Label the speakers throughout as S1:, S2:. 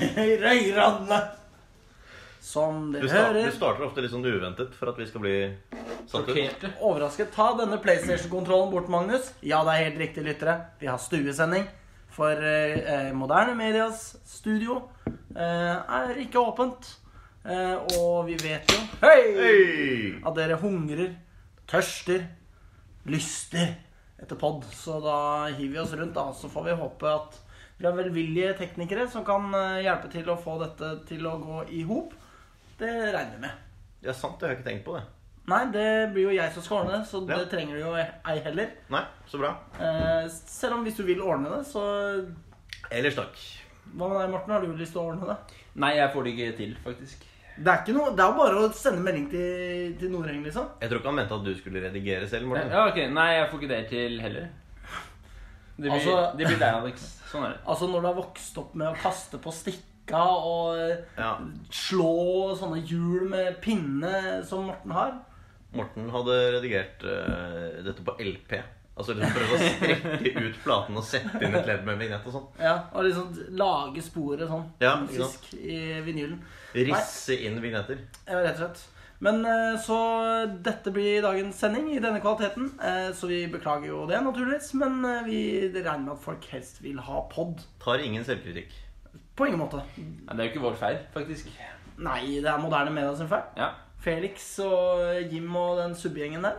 S1: Røyrane. Som
S2: Du,
S1: dere
S2: start,
S1: hører.
S2: du starter ofte litt sånn uventet for at vi skal bli satt ut.
S3: Sjokkerte.
S1: Overrasket. Ta denne PlayStation-kontrollen bort, Magnus. Ja, det er helt riktig, lyttere. Vi har stuesending. For eh, eh, moderne medias studio eh, er ikke åpent. Eh, og vi vet jo Hei!
S2: Hei!
S1: at dere hungrer, tørster, lyster etter pod. Så da hiver vi oss rundt, da. Så får vi håpe at vi har velvillige teknikere som kan eh, hjelpe til å få dette til å gå i hop. Det regner vi med.
S2: Ja, sant, det har jeg ikke tenkt på, det.
S1: Nei, det blir jo jeg som skal ordne det, så det
S2: Ja.
S1: trenger du jo ei heller.
S2: Nei, så bra.
S1: Eh, selv om hvis du vil ordne det, så
S2: Ellers takk.
S1: Hva med deg, Morten? Har du lyst til å ordne det?
S3: Nei, jeg får det ikke til, faktisk.
S1: Det er ikke noe, det er jo bare å sende melding til, til Noreng, liksom.
S2: Jeg tror ikke han mente at du skulle redigere selv, Morten.
S3: Ja, ok. Nei, jeg får ikke det til heller. Det blir,
S1: Altså-
S3: det blir deg, Alex. Sånn er det.
S1: Altså når du har vokst opp med å kaste på stikka og eh,
S2: Ja,
S1: slå sånne hjul med pinne som Morten har.
S2: Morten hadde redigert eh, dette på LP. Altså liksom prøvd å strekke ut platen og sette inn et ledd med en vignett og sånn.
S1: Ja, og liksom lage sporet sånn
S2: Ja, ikke sant.
S1: fysisk i vinylen.
S2: Risse inn vignetter.
S1: Ja, rett og slett. Men eh, så dette blir dagens sending i denne kvaliteten. eh, Så vi beklager jo det, naturligvis. Men eh, vi regner med at folk helst vil ha pod.
S2: Tar ingen selvkritikk.
S1: På ingen måte.
S3: Nei, det er jo ikke vår feil, faktisk.
S1: Nei, det er moderne media sin feil.
S3: Ja.
S1: Felix og Jim og den subbegjengen der.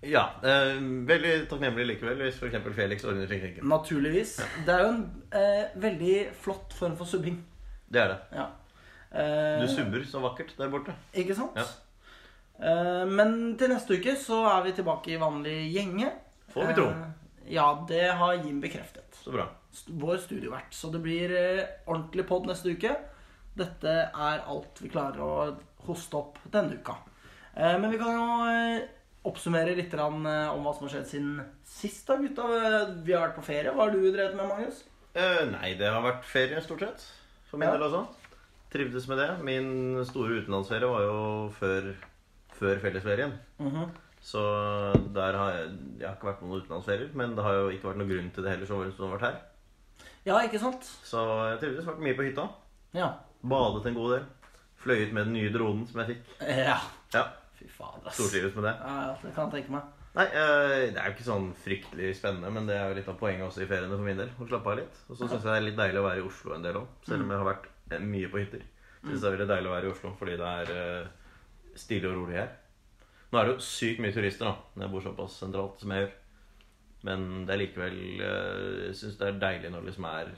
S2: Ja, eh, veldig takknemlig likevel hvis f.eks. Felix ordner teknikken.
S1: Naturligvis. Det er jo en eh, veldig flott form for subbing.
S2: Det er det.
S1: Ja. Eh,
S2: Du subber så vakkert der borte.
S1: Ikke sant?
S2: Ja.
S1: Eh, men til neste uke så er vi tilbake i vanlig gjenge.
S2: Får vi tro.
S1: Eh, ja, det har Jim bekreftet.
S2: Så bra.
S1: St- Vår studiovert. Så det blir eh, ordentlig pod neste uke. Dette er alt vi klarer å hoste opp denne uka. Eh, men vi kan jo eh, oppsummere litt grann, eh, om hva som har skjedd siden sist, da, gutta. Eh, Vi har vært på ferie. Hva har du drevet med, Magnus?
S2: Eh, nei, det har vært ferie, stort sett. For min
S1: Ja.
S2: del også. Trivdes med det. Min store utenlandsferie var jo før, før fellesferien. Så der har jeg Jeg har ikke vært på noen utenlandsferier, men det har jo ikke vært noen grunn til det heller, så var det som har vært her.
S1: Ja, ikke sant?
S2: Så jeg trivdes. Vært mye på hytta.
S1: Ja.
S2: Badet en god del. Fløyet med den nye dronen som jeg fikk.
S1: ja.
S2: Ja,
S1: Fy fader, ass.
S2: Stortrives med det.
S1: Ja, ja, det kan jeg tenke meg.
S2: Nei, eh, det er jo ikke sånn fryktelig spennende, men det er jo litt av poenget også i feriene for min del. Å slappe av litt. Og så syns jeg det er litt deilig å være i Oslo en del òg, selv om jeg har vært eh, mye på hytter. Synes det er veldig deilig å være i Oslo fordi det er eh, stille og rolig her. Nå er det jo sykt mye turister, da, når jeg bor såpass sentralt som jeg gjør. Men det er likevel eh, Jeg syns det er deilig når det liksom er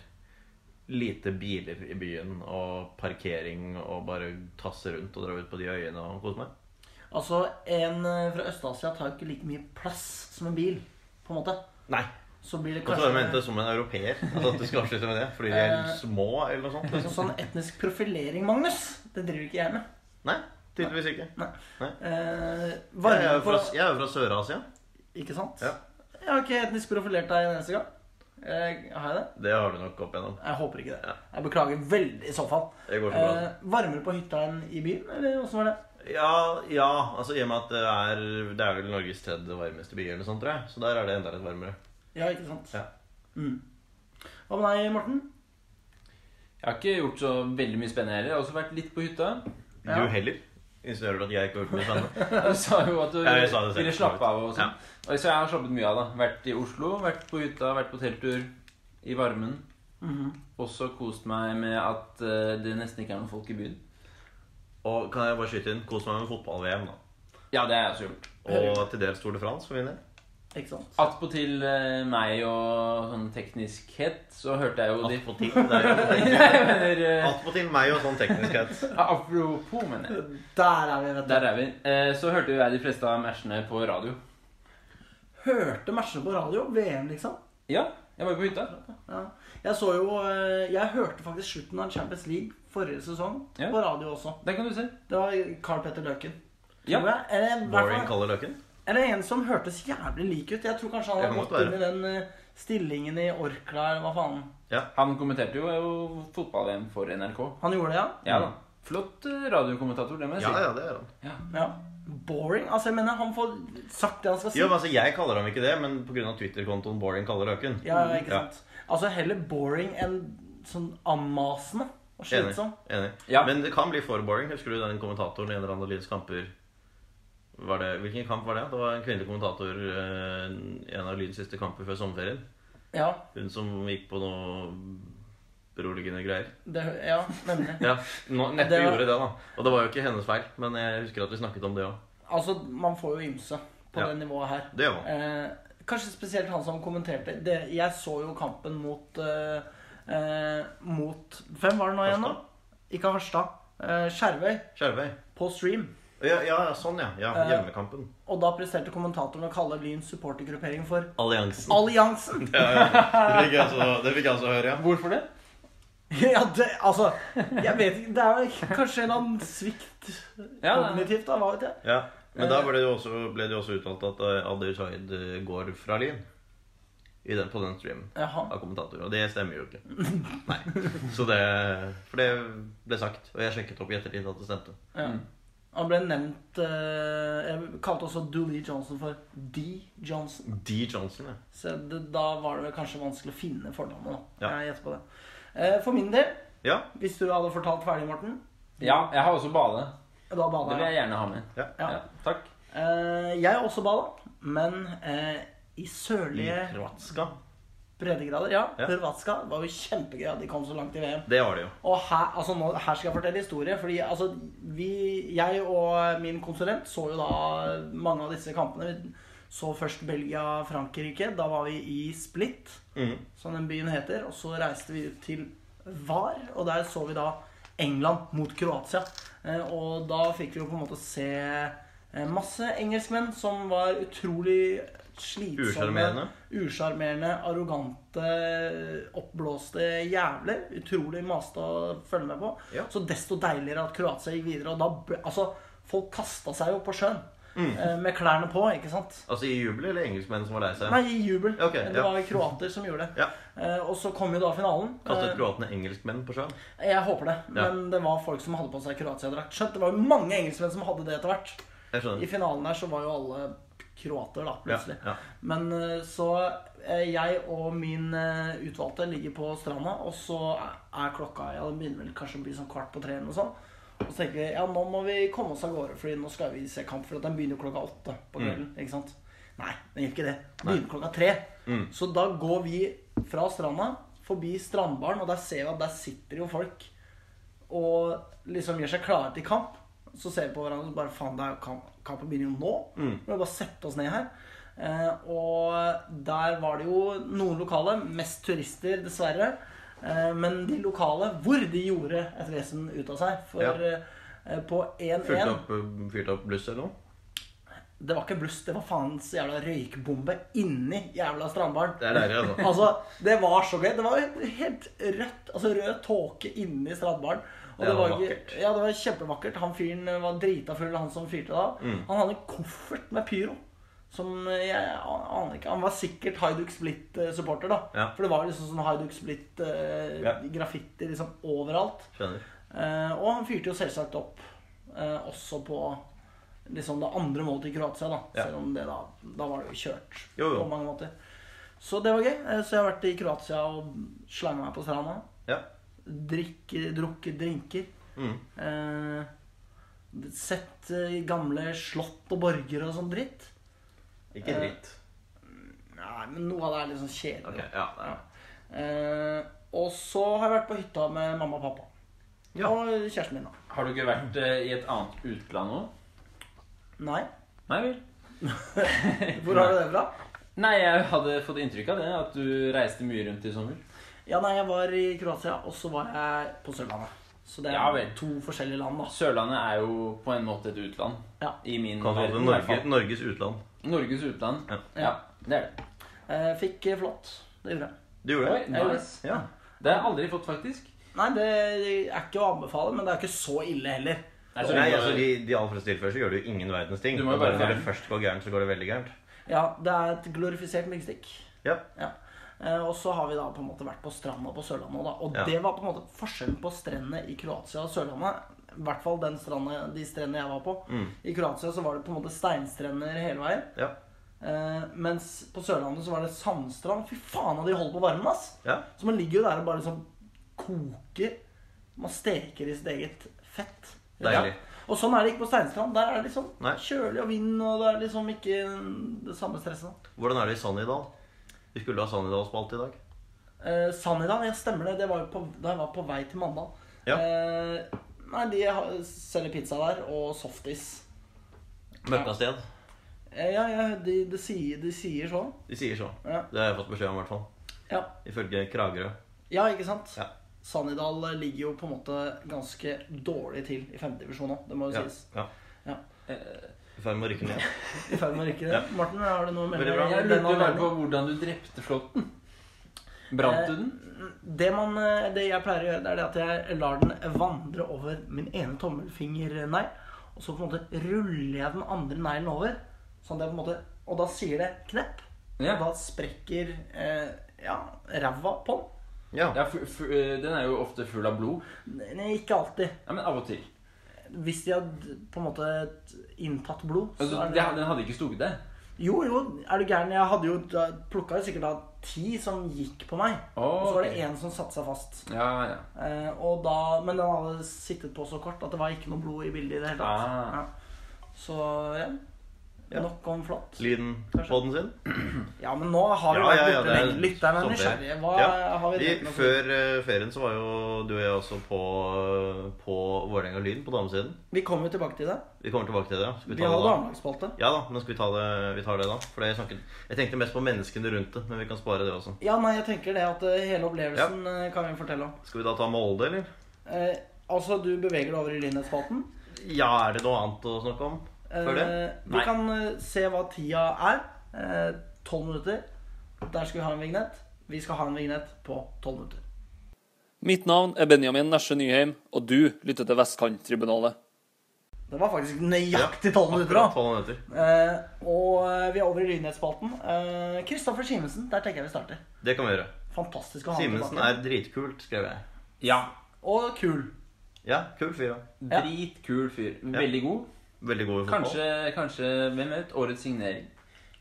S2: lite biler i byen, og parkering, og bare tasse rundt og dra ut på de øyene og kose meg.
S1: Altså, en eh, fra Øst-Asia tar jo ikke like mye plass som en bil, på en måte.
S2: Nei,
S1: Så blir det
S2: Og så er det ment
S1: kanskje
S2: som en europeer. Altså at du skal avslutte med det Fordi de er
S1: Eh.
S2: små, eller noe sånt.
S1: liksom sånn etnisk profilering, Magnus. Det driver ikke jeg med.
S2: Nei, tydeligvis ikke.
S1: Eh,
S2: Jeg er
S1: varme
S2: jo
S1: på
S2: fra, jeg er jo fra Sør-Asia.
S1: Ikke sant?
S2: Ja.
S1: Jeg har ikke etnisk profilert deg en eneste gang. Eh, har jeg det?
S2: Det har du nok opp igjennom.
S1: Jeg håper ikke det.
S2: Ja.
S1: Jeg beklager veldig i så fall.
S2: Det går så bra.
S1: Eh, varmere på hytta enn i byen, eller åssen var det?
S2: Ja, ja, altså i og med at det er Det er vel Norges tredje varmeste by, eller noe sånt, tror jeg. Så der er det enda litt varmere.
S1: Ja, ikke sant?
S2: Ja.
S1: Mm. Hva med deg, Morten?
S3: Jeg har ikke gjort så veldig mye spennende heller. Jeg har også vært litt på hytta.
S1: Ja.
S2: Du heller? Insinuerer du at jeg ikke har gjort mye spennende?
S3: Du sa jo at du
S2: Ja, jeg sa det selv.
S3: ville slappe av
S2: Ja.
S3: og sånn. Og Så jeg har slappet mye av, da. Vært i Oslo, vært på hytta, vært på telttur. I varmen.
S1: Mhm.
S3: Også kost meg med at eh, det nesten ikke er noen folk i byen.
S2: Og kan jeg bare skyte inn? Kos meg med fotball-VM, da.
S3: Ja, det har jeg også gjort.
S2: Og til dels Tour de France, for min del.
S1: Ikke sant?
S3: Attpåtil eh, meg og sånn tekniskhet, så hørte jeg jo de
S2: Attpåtil der, ja, for
S3: Nei,
S2: tenk.
S3: jeg mener eh,
S2: Attpåtil meg og sånn tekniskhet.
S3: Apropos, mener jeg.
S1: Der er vi, vet du.
S3: Der er vi. Eh, Så hørte jo jeg de fleste av matchene på radio.
S1: Hørte matchene på radio. VM, liksom.
S3: Ja, jeg var jo på hytta.
S1: Ja. Jeg så jo eh, Jeg hørte faktisk slutten av Champions League forrige sesong
S3: Ja.
S1: på radio også.
S3: Der kan du se.
S1: Det var Carl Petter Løken.
S3: Ja.
S1: Tror jeg. Eller, i hvert fall-
S2: Boring kaller løken.
S1: eller en som hørtes jævlig lik ut. Jeg tror kanskje han
S2: Det
S1: har
S2: kan
S1: gått
S2: godt
S1: inn i den eh, stillingen i Orkla eller hva faen.
S3: Han kommenterte jo, jo fotball-VM for NRK.
S1: Han gjorde det,
S3: Ja da. Flott eh, radiokommentator, det må jeg
S2: Ja,
S3: si.
S2: ja, det er han.
S1: ja? ja. Boring. Altså, jeg mener, han får sagt det han skal si.
S2: Jo, men altså, Jeg kaller ham ikke det, men pga. Twitter-kontoen Boring kaller Løken.
S1: Ja, ikke
S2: Ja.
S1: sant? Altså, heller boring enn sånn anmasende og
S2: Enig.
S1: slitsom.
S2: enig.
S3: Ja.
S2: Men det kan bli for boring. Husker du den kommentatoren i en eller annen av livets kamper var det, Hvilken kamp var det? Det var en kvinnelig kommentator eh, i en av Lyds siste kamper før sommerferien.
S1: Ja,
S2: Hun som gikk på noe beroligende greier.
S1: det, ja, nemlig.
S2: Ja, nå, neppe
S1: Det var-
S2: gjorde det, da. Og det var jo ikke hennes feil, men jeg husker at vi snakket om det òg.
S1: Altså, man får jo ymse på
S2: Ja.
S1: det nivået her.
S2: Det gjør man.
S1: Eh, kanskje spesielt han som kommenterte det, Jeg så jo kampen mot eh, eh, Mot Hvem var det nå igjen,
S2: Harstad?
S1: da? Ikke Harstad. Eh, Skjervøy.
S2: Skjervøy.
S1: På stream.
S2: Ja, ja, sånn, ja. ja
S1: Eh,
S2: hjemmekampen.
S1: Og da presterte kommentatoren å kalle Lyns supportergruppering for
S2: Alliansen.
S1: Alliansen!
S2: Ja, ja. Det, fikk jeg altså, det fikk jeg altså høre, ja.
S3: Hvorfor det?
S1: Ja, det, altså Jeg vet ikke Det er vel kanskje en eller annen svikt
S3: Ja, det-
S1: kognitivt, da. Hva vet jeg.
S2: ja. Men
S1: Eh.
S2: da ble det jo også, ble det jo også uttalt at eh, Adil Shaid eh, går fra Lyn I den, på den streamen
S1: Jaha.
S2: av kommentatoren. Og det stemmer jo ikke. Nei. Så det, for det ble sagt. Og jeg sjekket opp i ettertid at det stemte.
S1: Ja. Mm. Han ble nevnt eh, Jeg kalte også Dooley Johnson for D. Johnson.
S2: D. Johnson, ja.
S1: Så det, da var det vel kanskje vanskelig å finne fornavnet. da.
S2: Ja.
S1: Jeg gjetter på det. Eh, For min del,
S2: Ja,
S1: hvis du hadde fortalt ferdig, Morten
S3: Ja, jeg har også bade.
S1: Da
S3: Det
S1: bada
S3: vil
S1: jeg.
S3: jeg gjerne ha med.
S2: Ja.
S1: Ja.
S3: takk.
S1: Eh, Jeg har også bada, men eh, i
S2: i
S1: sørlige
S2: Kroatska.
S1: breddegrader. Ja,
S2: Ja.
S1: Hrvatska var jo kjempegøy at de kom så langt i VM.
S2: Det var det jo.
S1: Og her, altså nå, her skal jeg fortelle historie, fordi altså, vi, jeg og min konsulent så jo da mange av disse kampene. Vi så først Belgia-Frankrike. Da var vi i Split,
S2: Mhm.
S1: som den byen heter. Og så reiste vi ut til VAR, og der så vi da England mot Kroatia. Eh, Og da fikk vi jo på en måte se eh, masse engelskmenn som var utrolig slitsomme
S2: Usjarmerende.
S1: usjarmerende, arrogante, oppblåste jævler. Utrolig maste å følge med på.
S2: Ja.
S1: Så desto deiligere at Kroatia gikk videre. Og da ble, altså, folk kasta seg jo på sjøen
S2: Mm.
S1: eh, med klærne på, ikke sant?
S2: Altså i jubel eller engelskmenn som var lei seg?
S1: Nei, i jubel.
S2: Ok,
S1: Det
S2: ja.
S1: var kroater som gjorde det.
S2: Ja.
S1: Eh, og så kom jo da finalen.
S2: Kastet
S1: Eh,
S2: kroatene engelskmenn på sjøen?
S1: jeg håper det.
S2: Ja.
S1: Men det var folk som hadde på seg Kroatia-drakt. Skjønt, det var jo mange engelskmenn som hadde det etter hvert.
S2: Jeg
S1: I
S2: skjønner.
S1: finalen her så var jo alle kroater, da,
S2: Ja,
S1: plutselig.
S2: ja.
S1: Men eh, så eh, jeg og min eh, utvalgte ligger på stranda, og så er- er klokka ja, Det begynner vel kanskje å bli sånn kvart på tre eller noe sånt. Og så tenker vi ja, nå må vi komme oss av gårde, Fordi nå skal vi se kamp. For at den begynner klokka åtte på kvelden. ikke sant? Nei, den gjør ikke det. Den begynner klokka tre. Så da går vi fra stranda, forbi strandbaren, og der ser vi at der sitter jo folk og liksom gjør seg klare til kamp. Så ser vi på hverandre og bare faen, det er jo kamp, kampen begynner jo nå.
S2: Mm.
S1: Vi må bare sette oss ned her. Eh, og der var det jo noen lokale, mest turister dessverre. Eh, men de lokale hvor de gjorde et vesen ut av seg. For
S2: Ja.
S1: eh, på 1-1
S2: Fyrt opp, eh, fyrt opp bluss eller noe?
S1: Det var ikke bluss, det var faens jævla røykbombe inni jævla strandbaren.
S2: Det er deilig, altså.
S1: Altså, det var så gøy. Det var helt rødt, altså rød tåke inni strandbaren. Og
S2: Det
S1: det
S2: var
S1: var, ikke-
S2: vakkert.
S1: ja, det var kjempevakkert. Han fyren var drita full, han som fyrte da.
S2: Mm.
S1: Han hadde en koffert med pyro. Som jeg aner ikke Han var sikkert Haiduk Split-supporter, da.
S2: Ja.
S1: For det var liksom sånn Haiduk Split-graffiti
S2: Ja.
S1: liksom overalt.
S2: Skjønner.
S1: Eh, og han fyrte jo selvsagt opp eh, også på liksom det andre målet til Kroatia, da.
S2: Ja.
S1: Selv om det da Da var det jo kjørt
S2: Jo, jo.
S1: på mange måter. Så det var gøy. Eh, så jeg har vært i Kroatia og slanga meg på stranda.
S2: Ja.
S1: Drikke, drukket drinker.
S2: Mm.
S1: Eh, sett eh, gamle slott og borger og sånn dritt.
S2: Ikke dritt.
S1: Nei, men noe av det er litt sånn
S2: Ok,
S1: kjedelig.
S2: ja. ja.
S1: Eh, og så har jeg vært på hytta med mamma og pappa.
S2: Ja.
S1: Og kjæresten min, da.
S3: Har du ikke vært eh, i et annet utland nå?
S1: Nei.
S3: Nei vel?
S1: Hvor har du det fra?
S3: Nei, jeg hadde fått inntrykk av det, at du reiste mye rundt i sommer.
S1: Ja, nei, jeg var i Kroatia, og så var jeg på Sørlandet. Så det er
S3: Ja vel.
S1: to forskjellige land, da.
S3: Sørlandet er jo på en måte et utland.
S1: Ja.
S3: I min
S2: Kan kalle det
S3: verden, i
S2: Norge,
S3: hvert fall.
S2: Norges utland.
S3: Norges utland.
S2: Ja.
S3: ja, det er det.
S1: Eh, Fikk eh, flått. Det gjorde jeg.
S2: Du gjorde
S3: Oi,
S2: det?
S3: nice.
S2: Ja.
S3: Det har jeg aldri fått, faktisk.
S1: Nei, det er ikke å anbefale, men det er ikke så ille heller.
S3: Nei,
S2: Nei, altså, I de aller fleste tilfeller så gjør du jo ingen verdens ting.
S3: Du må jo
S2: bare
S3: bare
S2: Når
S3: fjerne.
S2: det først går gærent, så går det veldig gærent.
S1: Ja, det er et glorifisert myggstikk.
S2: Ja.
S1: Ja. Eh, Og så har vi da på en måte vært på stranda på Sørlandet òg, da. Og
S2: Ja.
S1: det var på en måte forskjellen på strendene i Kroatia og Sørlandet. I hvert fall den stranda, de strendene jeg var på.
S3: Mm.
S1: I Kroatia så var det på en måte steinstrender hele veien.
S2: Mm. Ja.
S1: Eh, mens på Sørlandet så var det sandstrand. Fy faen, og de holdt på varmen, ass!
S2: ja.
S1: Så man ligger jo der og bare sånn koker. Man steker i sitt eget fett.
S2: Deilig.
S1: Og sånn er det ikke på Steinstrand. Der er det liksom
S2: Nei.
S1: kjølig og vind, og det er liksom ikke det samme stresset.
S2: Hvordan er det i Sannidal? Vi skulle ha Sannidalsspalt i dag.
S1: Eh, Sannidal, ja, stemmer det. Det var jo på, da jeg var på vei til Mandal.
S2: Ja.
S1: Eh, nei, de har- selger pizza der, og softis.
S2: Møkkasted.
S1: Eh, ja, ja, de, de, sier, de sier sånn.
S2: De sier så.
S1: Ja.
S2: Det har jeg fått beskjed om, i hvert fall.
S1: Ja,
S2: Ifølge Kragerø.
S1: ja ikke sant?
S2: Ja.
S1: Sannidal ligger jo på en måte ganske dårlig til i femtedivisjon nå, det må jo
S2: Ja.
S1: sies.
S2: ja.
S1: Ja.
S2: I ferd med å rykke ned.
S1: I ferd med å rykke det.
S2: Ja.
S1: Morten, har du noe å melde?
S2: Veldig bra.
S1: Jeg
S3: Jeg
S1: lurer
S3: lurte bare
S1: på-
S3: på hvordan du drepte flåtten. Brant du den?
S1: Det, man, eh, det jeg pleier å gjøre, det er det at jeg lar den vandre over min ene tommelfingernegl. Og så på en måte ruller jeg den andre neglen over. Sånn at jeg på en måte, og da sier det knepp.
S3: Ja.
S1: Og da sprekker eh, ja, ræva på
S2: Ja.
S3: Ja, fu- fu- eh, den er jo ofte full av blod.
S1: den. Nei, ikke alltid.
S3: Ja, men av og til.
S1: Hvis de har d- på en måte inntatt blod,
S3: Altså,
S1: så er
S3: det-
S1: det
S3: den hadde ikke stukket deg?
S1: Jo, jo, er du gæren? Jeg hadde jo plukka sikkert av ti som gikk på meg.
S3: Å,
S1: og så var
S3: ok.
S1: det én som satte seg fast.
S3: Ja, ja.
S1: Eh, og da, men den hadde sittet på så kort at det var ikke noe blod i bildet i det hele tatt.
S3: Ah.
S1: Ja. Så ja. Nok om flott.
S2: Lyden på den sin.
S1: Ja, men nå har vi
S2: Ja, ja,
S1: vært
S2: ja,
S1: borte
S2: det er
S1: lenge. Lytterne er
S2: sånn det er.
S1: nysgjerrige. Hva
S2: Ja.
S1: har vi
S2: Vi,
S1: drevet med?
S2: før eh, ferien så var jo du og jeg også på, eh, på Vålerenga Lyn på damesiden.
S1: Vi kommer jo tilbake til det.
S2: Vi kommer tilbake til det. ja. Skal
S1: Vi
S2: ta
S1: har
S2: det da?
S1: damelagspalte.
S2: Ja da, men skal vi ta det, vi tar det da? For jeg, snakket, jeg tenkte mest på menneskene rundt det, men vi kan spare det også.
S1: Ja, nei, jeg tenker det at eh, hele opplevelsen eh, kan vi fortelle om.
S2: Skal vi da ta Molde, eller?
S1: Eh, altså, du beveger deg over i Lynhetsspalten.
S2: Ja, er det noe annet å snakke om? Før det?
S1: Eh, vi
S3: Nei.
S1: kan eh, se hva tida er. Eh, Tolv minutter. Der skal vi ha en vignett. Vi skal ha en vignett på tolv minutter.
S4: Mitt navn er Benjamin Nesje Nyheim, og du lytter til Vestkanttribunalet.
S1: Det var faktisk nøyaktig tolv minutter. da.
S2: Tolv minutter.
S1: Eh, og eh, vi er over i lynhetsspalten. Eh, Kristoffer Simensen, der tenker jeg vi starter.
S2: Det kan vi gjøre.
S1: Fantastisk å ha han
S2: Simensen
S1: tilbake.
S2: er dritkult, skrev jeg.
S3: ja.
S1: Og kul.
S2: Ja, kul fyr. da.
S1: Ja.
S3: Dritkul fyr. Veldig god.
S2: Veldig god i fotball.
S3: Kanskje, kanskje hvem vet, årets signering.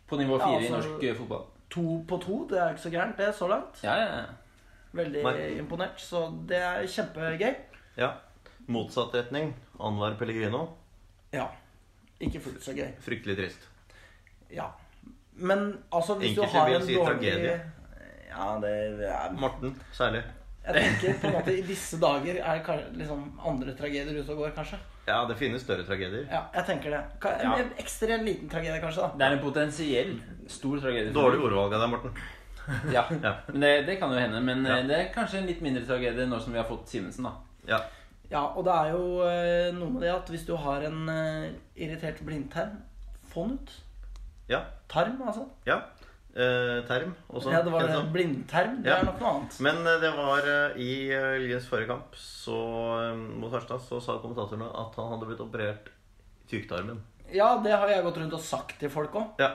S3: På nivå fire
S1: altså-
S3: i norsk eh, fotball.
S1: To på to, det er jo ikke så gærent det så langt.
S3: Ja, ja, ja.
S1: Veldig
S2: Nei.
S1: imponert, så det er kjempegøy.
S2: Ja. Motsatt retning. Anwar Pellegrino.
S1: Ja. Ikke fullt så gøy.
S2: Fryktelig trist.
S1: Ja. Men altså, hvis
S2: Enkelte
S1: du har
S2: vil
S1: en
S2: si
S1: dårlig
S2: tragedie.
S1: Ja, det er
S2: Morten særlig.
S1: Jeg tenker på en måte i disse dager er kan- liksom andre tragedier ute og går, kanskje.
S2: Ja, det finnes større tragedier.
S1: Ja, jeg tenker det. Ka- En
S2: Ja.
S1: ekstremt liten tragedie, kanskje. da
S3: Det er en potensiell stor tragedie. for
S2: Dårlig
S3: Norge.
S2: ordvalg av deg, Morten.
S3: Ja.
S2: Ja.
S3: Men det, det kan jo hende. Men eh,
S2: Ja.
S3: det er kanskje en litt mindre tragedie nå som vi har fått Simensen, da.
S2: Ja.
S1: Ja, og det er jo eh, noe med det at hvis du har en eh, irritert blindtarm, få den ut.
S2: Ja.
S1: Tarm, altså.
S2: ja. Eh, term også.
S1: ja, det var
S2: kjent
S1: det.
S2: som.
S1: Blindtarm, det
S2: Ja.
S1: er nok noe annet.
S2: Men eh, det var eh, i eh, Lyens forrige kamp så, eh, mot Harstad så sa kommentatorene at han hadde blitt operert i tyktarmen.
S1: Ja, det har jeg gått rundt og sagt til folk òg.
S2: Ja,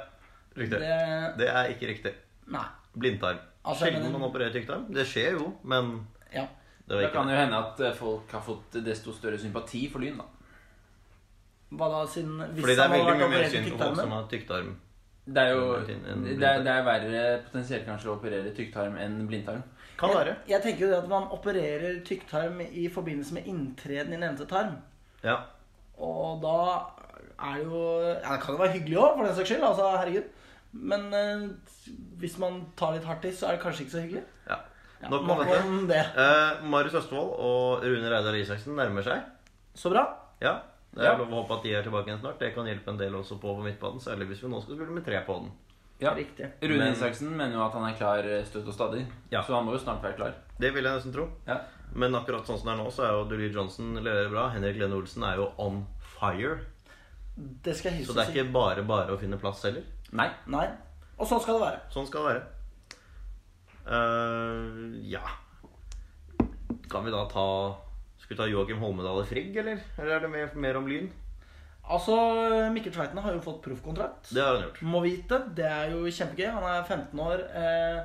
S2: riktig. Det,
S1: Det
S2: er ikke riktig.
S1: Nei.
S2: Blindtarm.
S1: Altså, jeg
S2: Sjelden
S1: mener-
S2: man opererer tyktarm. Det skjer jo, men
S1: Ja.
S2: det var
S3: Det
S2: ikke
S3: kan
S2: det.
S3: jo hende at eh, folk har fått desto større sympati for Lyn, da.
S1: Hva da, siden hvis
S2: Fordi det er
S1: han hadde vært
S2: veldig mye mer
S1: operert i
S2: synd på folk som
S1: tykktarmen?
S2: har tyktarm.
S3: Det er jo
S2: En- en
S3: det er,
S2: blindtarm.
S3: det er verre potensielt kanskje å operere tykktarm enn blindtarm.
S2: Kan være.
S1: Jeg tenker jo det at man opererer tykktarm i forbindelse med inntreden i nevnte tarm.
S2: Ja.
S1: Og da er det jo Ja, det kan jo være hyggelig òg, for den saks skyld. Altså, herregud. Men eh, hvis man tar litt hardt i, så er det kanskje ikke så hyggelig.
S2: ja.
S1: Ja,
S2: Nok om dette.
S1: om det.
S2: Eh, Marius Østfold og Rune Reidar Isaksen nærmer seg.
S1: Så bra.
S2: Ja. Det er
S3: Ja.
S2: lov å håpe at de er tilbake igjen snart. Det kan hjelpe en del også på på midtbanen. Særlig hvis vi nå skal spille med tre på den.
S3: Ja.
S1: Riktig.
S3: Rune
S2: Men-
S3: Isaksen mener jo at han er klar eh, støtt og stadig,
S2: Ja.
S3: så han må jo snart være klar.
S2: Det vil jeg nesten tro.
S3: Ja.
S2: Men akkurat sånn som det er nå, så er jo Dulie Johnson leverer bra. Henrik Lene Olsen er jo on fire.
S1: Det skal jeg
S2: Så
S1: hilse
S2: det
S1: og
S2: er
S1: si.
S2: ikke bare bare å finne plass heller.
S3: Nei.
S1: Nei. Og sånn skal det være.
S2: Sånn skal det være. Eh, ja Kan vi da ta Skal vi ta Joakim Holmedal i Frigg, eller? Eller er det mer, mer om Lyn?
S1: Altså, Mikkel Tveiten har jo fått proffkontrakt.
S2: Det har han gjort.
S1: Må vite. Det er jo kjempegøy. Han er 15 år. Eh,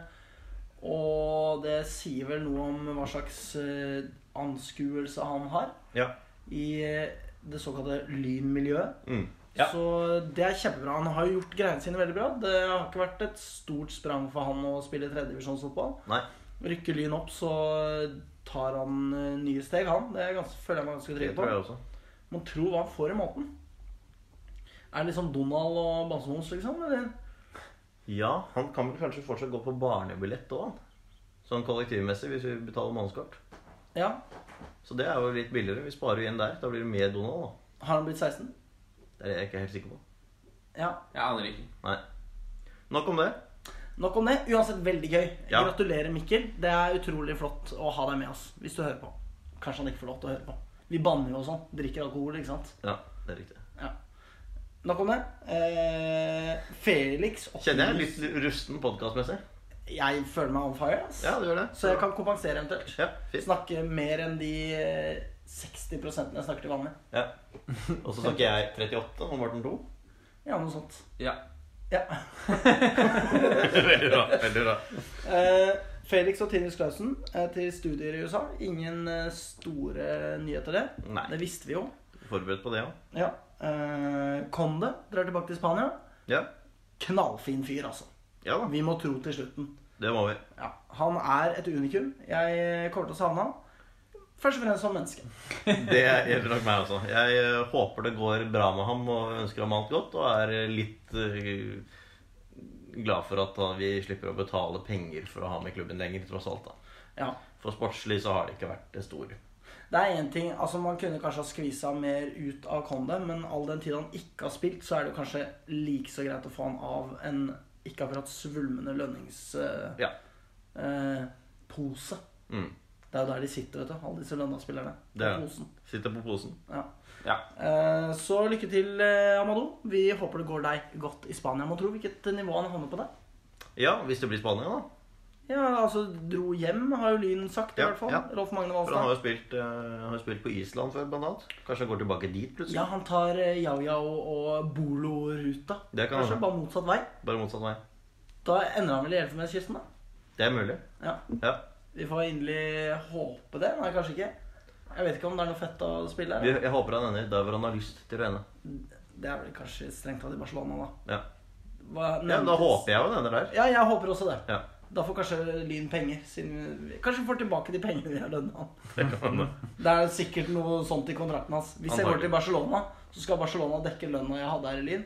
S1: og det sier vel noe om hva slags eh, anskuelse han har
S2: Ja.
S1: i eh, det såkalte lynmiljøet.
S2: Mm.
S3: Ja.
S1: Så det er kjempebra. Han har jo gjort greiene sine veldig bra. Det har ikke vært et stort sprang for han å spille tredjedivisjonsfotball.
S2: Nei.
S1: Rykker Lyn opp, så tar han eh, nye steg, han. Det er gans- føler jeg meg ganske
S2: Det
S1: trygg på.
S2: tror jeg også.
S1: Man tror hva han får i maten. Er det liksom Donald og Bamsemons, liksom? Eller?
S2: Ja, han kan vel kanskje fortsatt gå på barnebillett òg, han. Sånn kollektivmessig, hvis vi betaler månedskort.
S1: Ja.
S2: Så det er jo litt billigere. Vi sparer jo igjen der. Da blir det mer Donald, da.
S1: Har han blitt 16?
S2: Det er jeg ikke helt sikker på.
S1: Ja.
S3: Jeg aner ikke.
S2: Nei. Nok om det.
S1: Nok om det. Uansett veldig gøy.
S2: Ja.
S1: Gratulerer, Mikkel. Det er utrolig flott å ha deg med oss hvis du hører på. Kanskje han ikke får lov til å høre på. Vi banner jo og sånn. Drikker alkohol, ikke sant.
S2: Ja, det er riktig.
S1: Ja. Nok om det. Eh, Felix
S2: Kjenner jeg er litt rusten podkastmessig?
S1: Jeg føler meg on fire. ass.
S2: Ja, du gjør det.
S1: Så jeg kan kompensere eventuelt.
S2: Ja, fint.
S1: Snakke mer enn de eh, 60 jeg snakker til vanlig.
S2: Ja.
S1: Mm.
S2: Og så snakker jeg 38 og Morten 2.
S1: Ja, noe sånt.
S3: Ja.
S1: Ja.
S2: Veldig bra. veldig bra
S1: Eh, Felix og Tinus Clausen eh, til studier i USA. Ingen eh, store nyheter der.
S2: Nei.
S1: Det visste vi jo.
S2: Forberedt på det òg.
S1: Ja. Eh, Conde drar tilbake til Spania.
S2: Ja.
S1: Knallfin fyr, altså.
S2: ja da.
S1: Vi må tro til slutten.
S2: Det må vi.
S1: Ja. Han er et unikum. Jeg kommer til å savne han. Først og fremst som menneske.
S2: Det gjelder nok meg også. Jeg eh, håper det går bra med ham og ønsker ham alt godt. Og er eh, litt eh, glad for at eh, vi slipper å betale penger for å ha med klubben lenger, tross alt. da
S1: Ja.
S2: For sportslig så har det ikke vært det store.
S1: Det er en ting, altså Man kunne kanskje ha skvisa mer ut av Conde, men all den tid han ikke har spilt, så er det jo kanskje like så greit å få han av en ikke akkurat svulmende eh, lønningspose.
S2: Ja, Mm.
S1: Det er jo der de sitter, vet du. Alle disse lønnaspillerne.
S2: det er
S1: På
S2: det.
S1: posen.
S2: Sitter på posen.
S1: Ja.
S3: ja.
S1: Eh, Så lykke til, eh, Amado. Vi håper det går deg godt i Spania. Må tro hvilket nivå han havner på der.
S2: Ja, hvis det blir Spania, da.
S1: Ja, altså Dro hjem, har jo Lyn sagt, i
S2: Ja,
S1: hvert fall.
S2: ja.
S1: Rolf Magne
S2: For han har
S1: Valstad.
S2: jo spilt, eh, har jo spilt på Island før, blant annet. Kanskje han går tilbake dit plutselig.
S1: Ja, han tar eh, yao-yao og bolo-ruta.
S2: Det kan
S1: Kanskje
S2: hende.
S1: bare motsatt vei.
S2: Bare motsatt vei.
S1: Da ender han vel i Elfenbenskysten, da.
S2: Det er mulig.
S1: Ja,
S2: Ja.
S1: Vi får inderlig håpe det. Nei, kanskje ikke. Jeg vet ikke om det er noe fett å spille
S2: Vi-
S1: her.
S2: Jeg håper han ender der hvor han har lyst til å ende.
S1: Det er vel kanskje strengt tatt i Barcelona, da.
S2: Ja,
S1: Hva,
S2: ja Da håper jeg jo han ender der.
S1: Ja, jeg håper også det.
S2: Ja.
S1: Da får kanskje Lyn penger. Siden vi, kanskje vi får tilbake de pengene vi har lønna han. Det er sikkert noe sånt i kontrakten hans. Hvis jeg går
S2: Antagelig.
S1: til Barcelona, så skal Barcelona dekke lønna jeg hadde her i Lyn.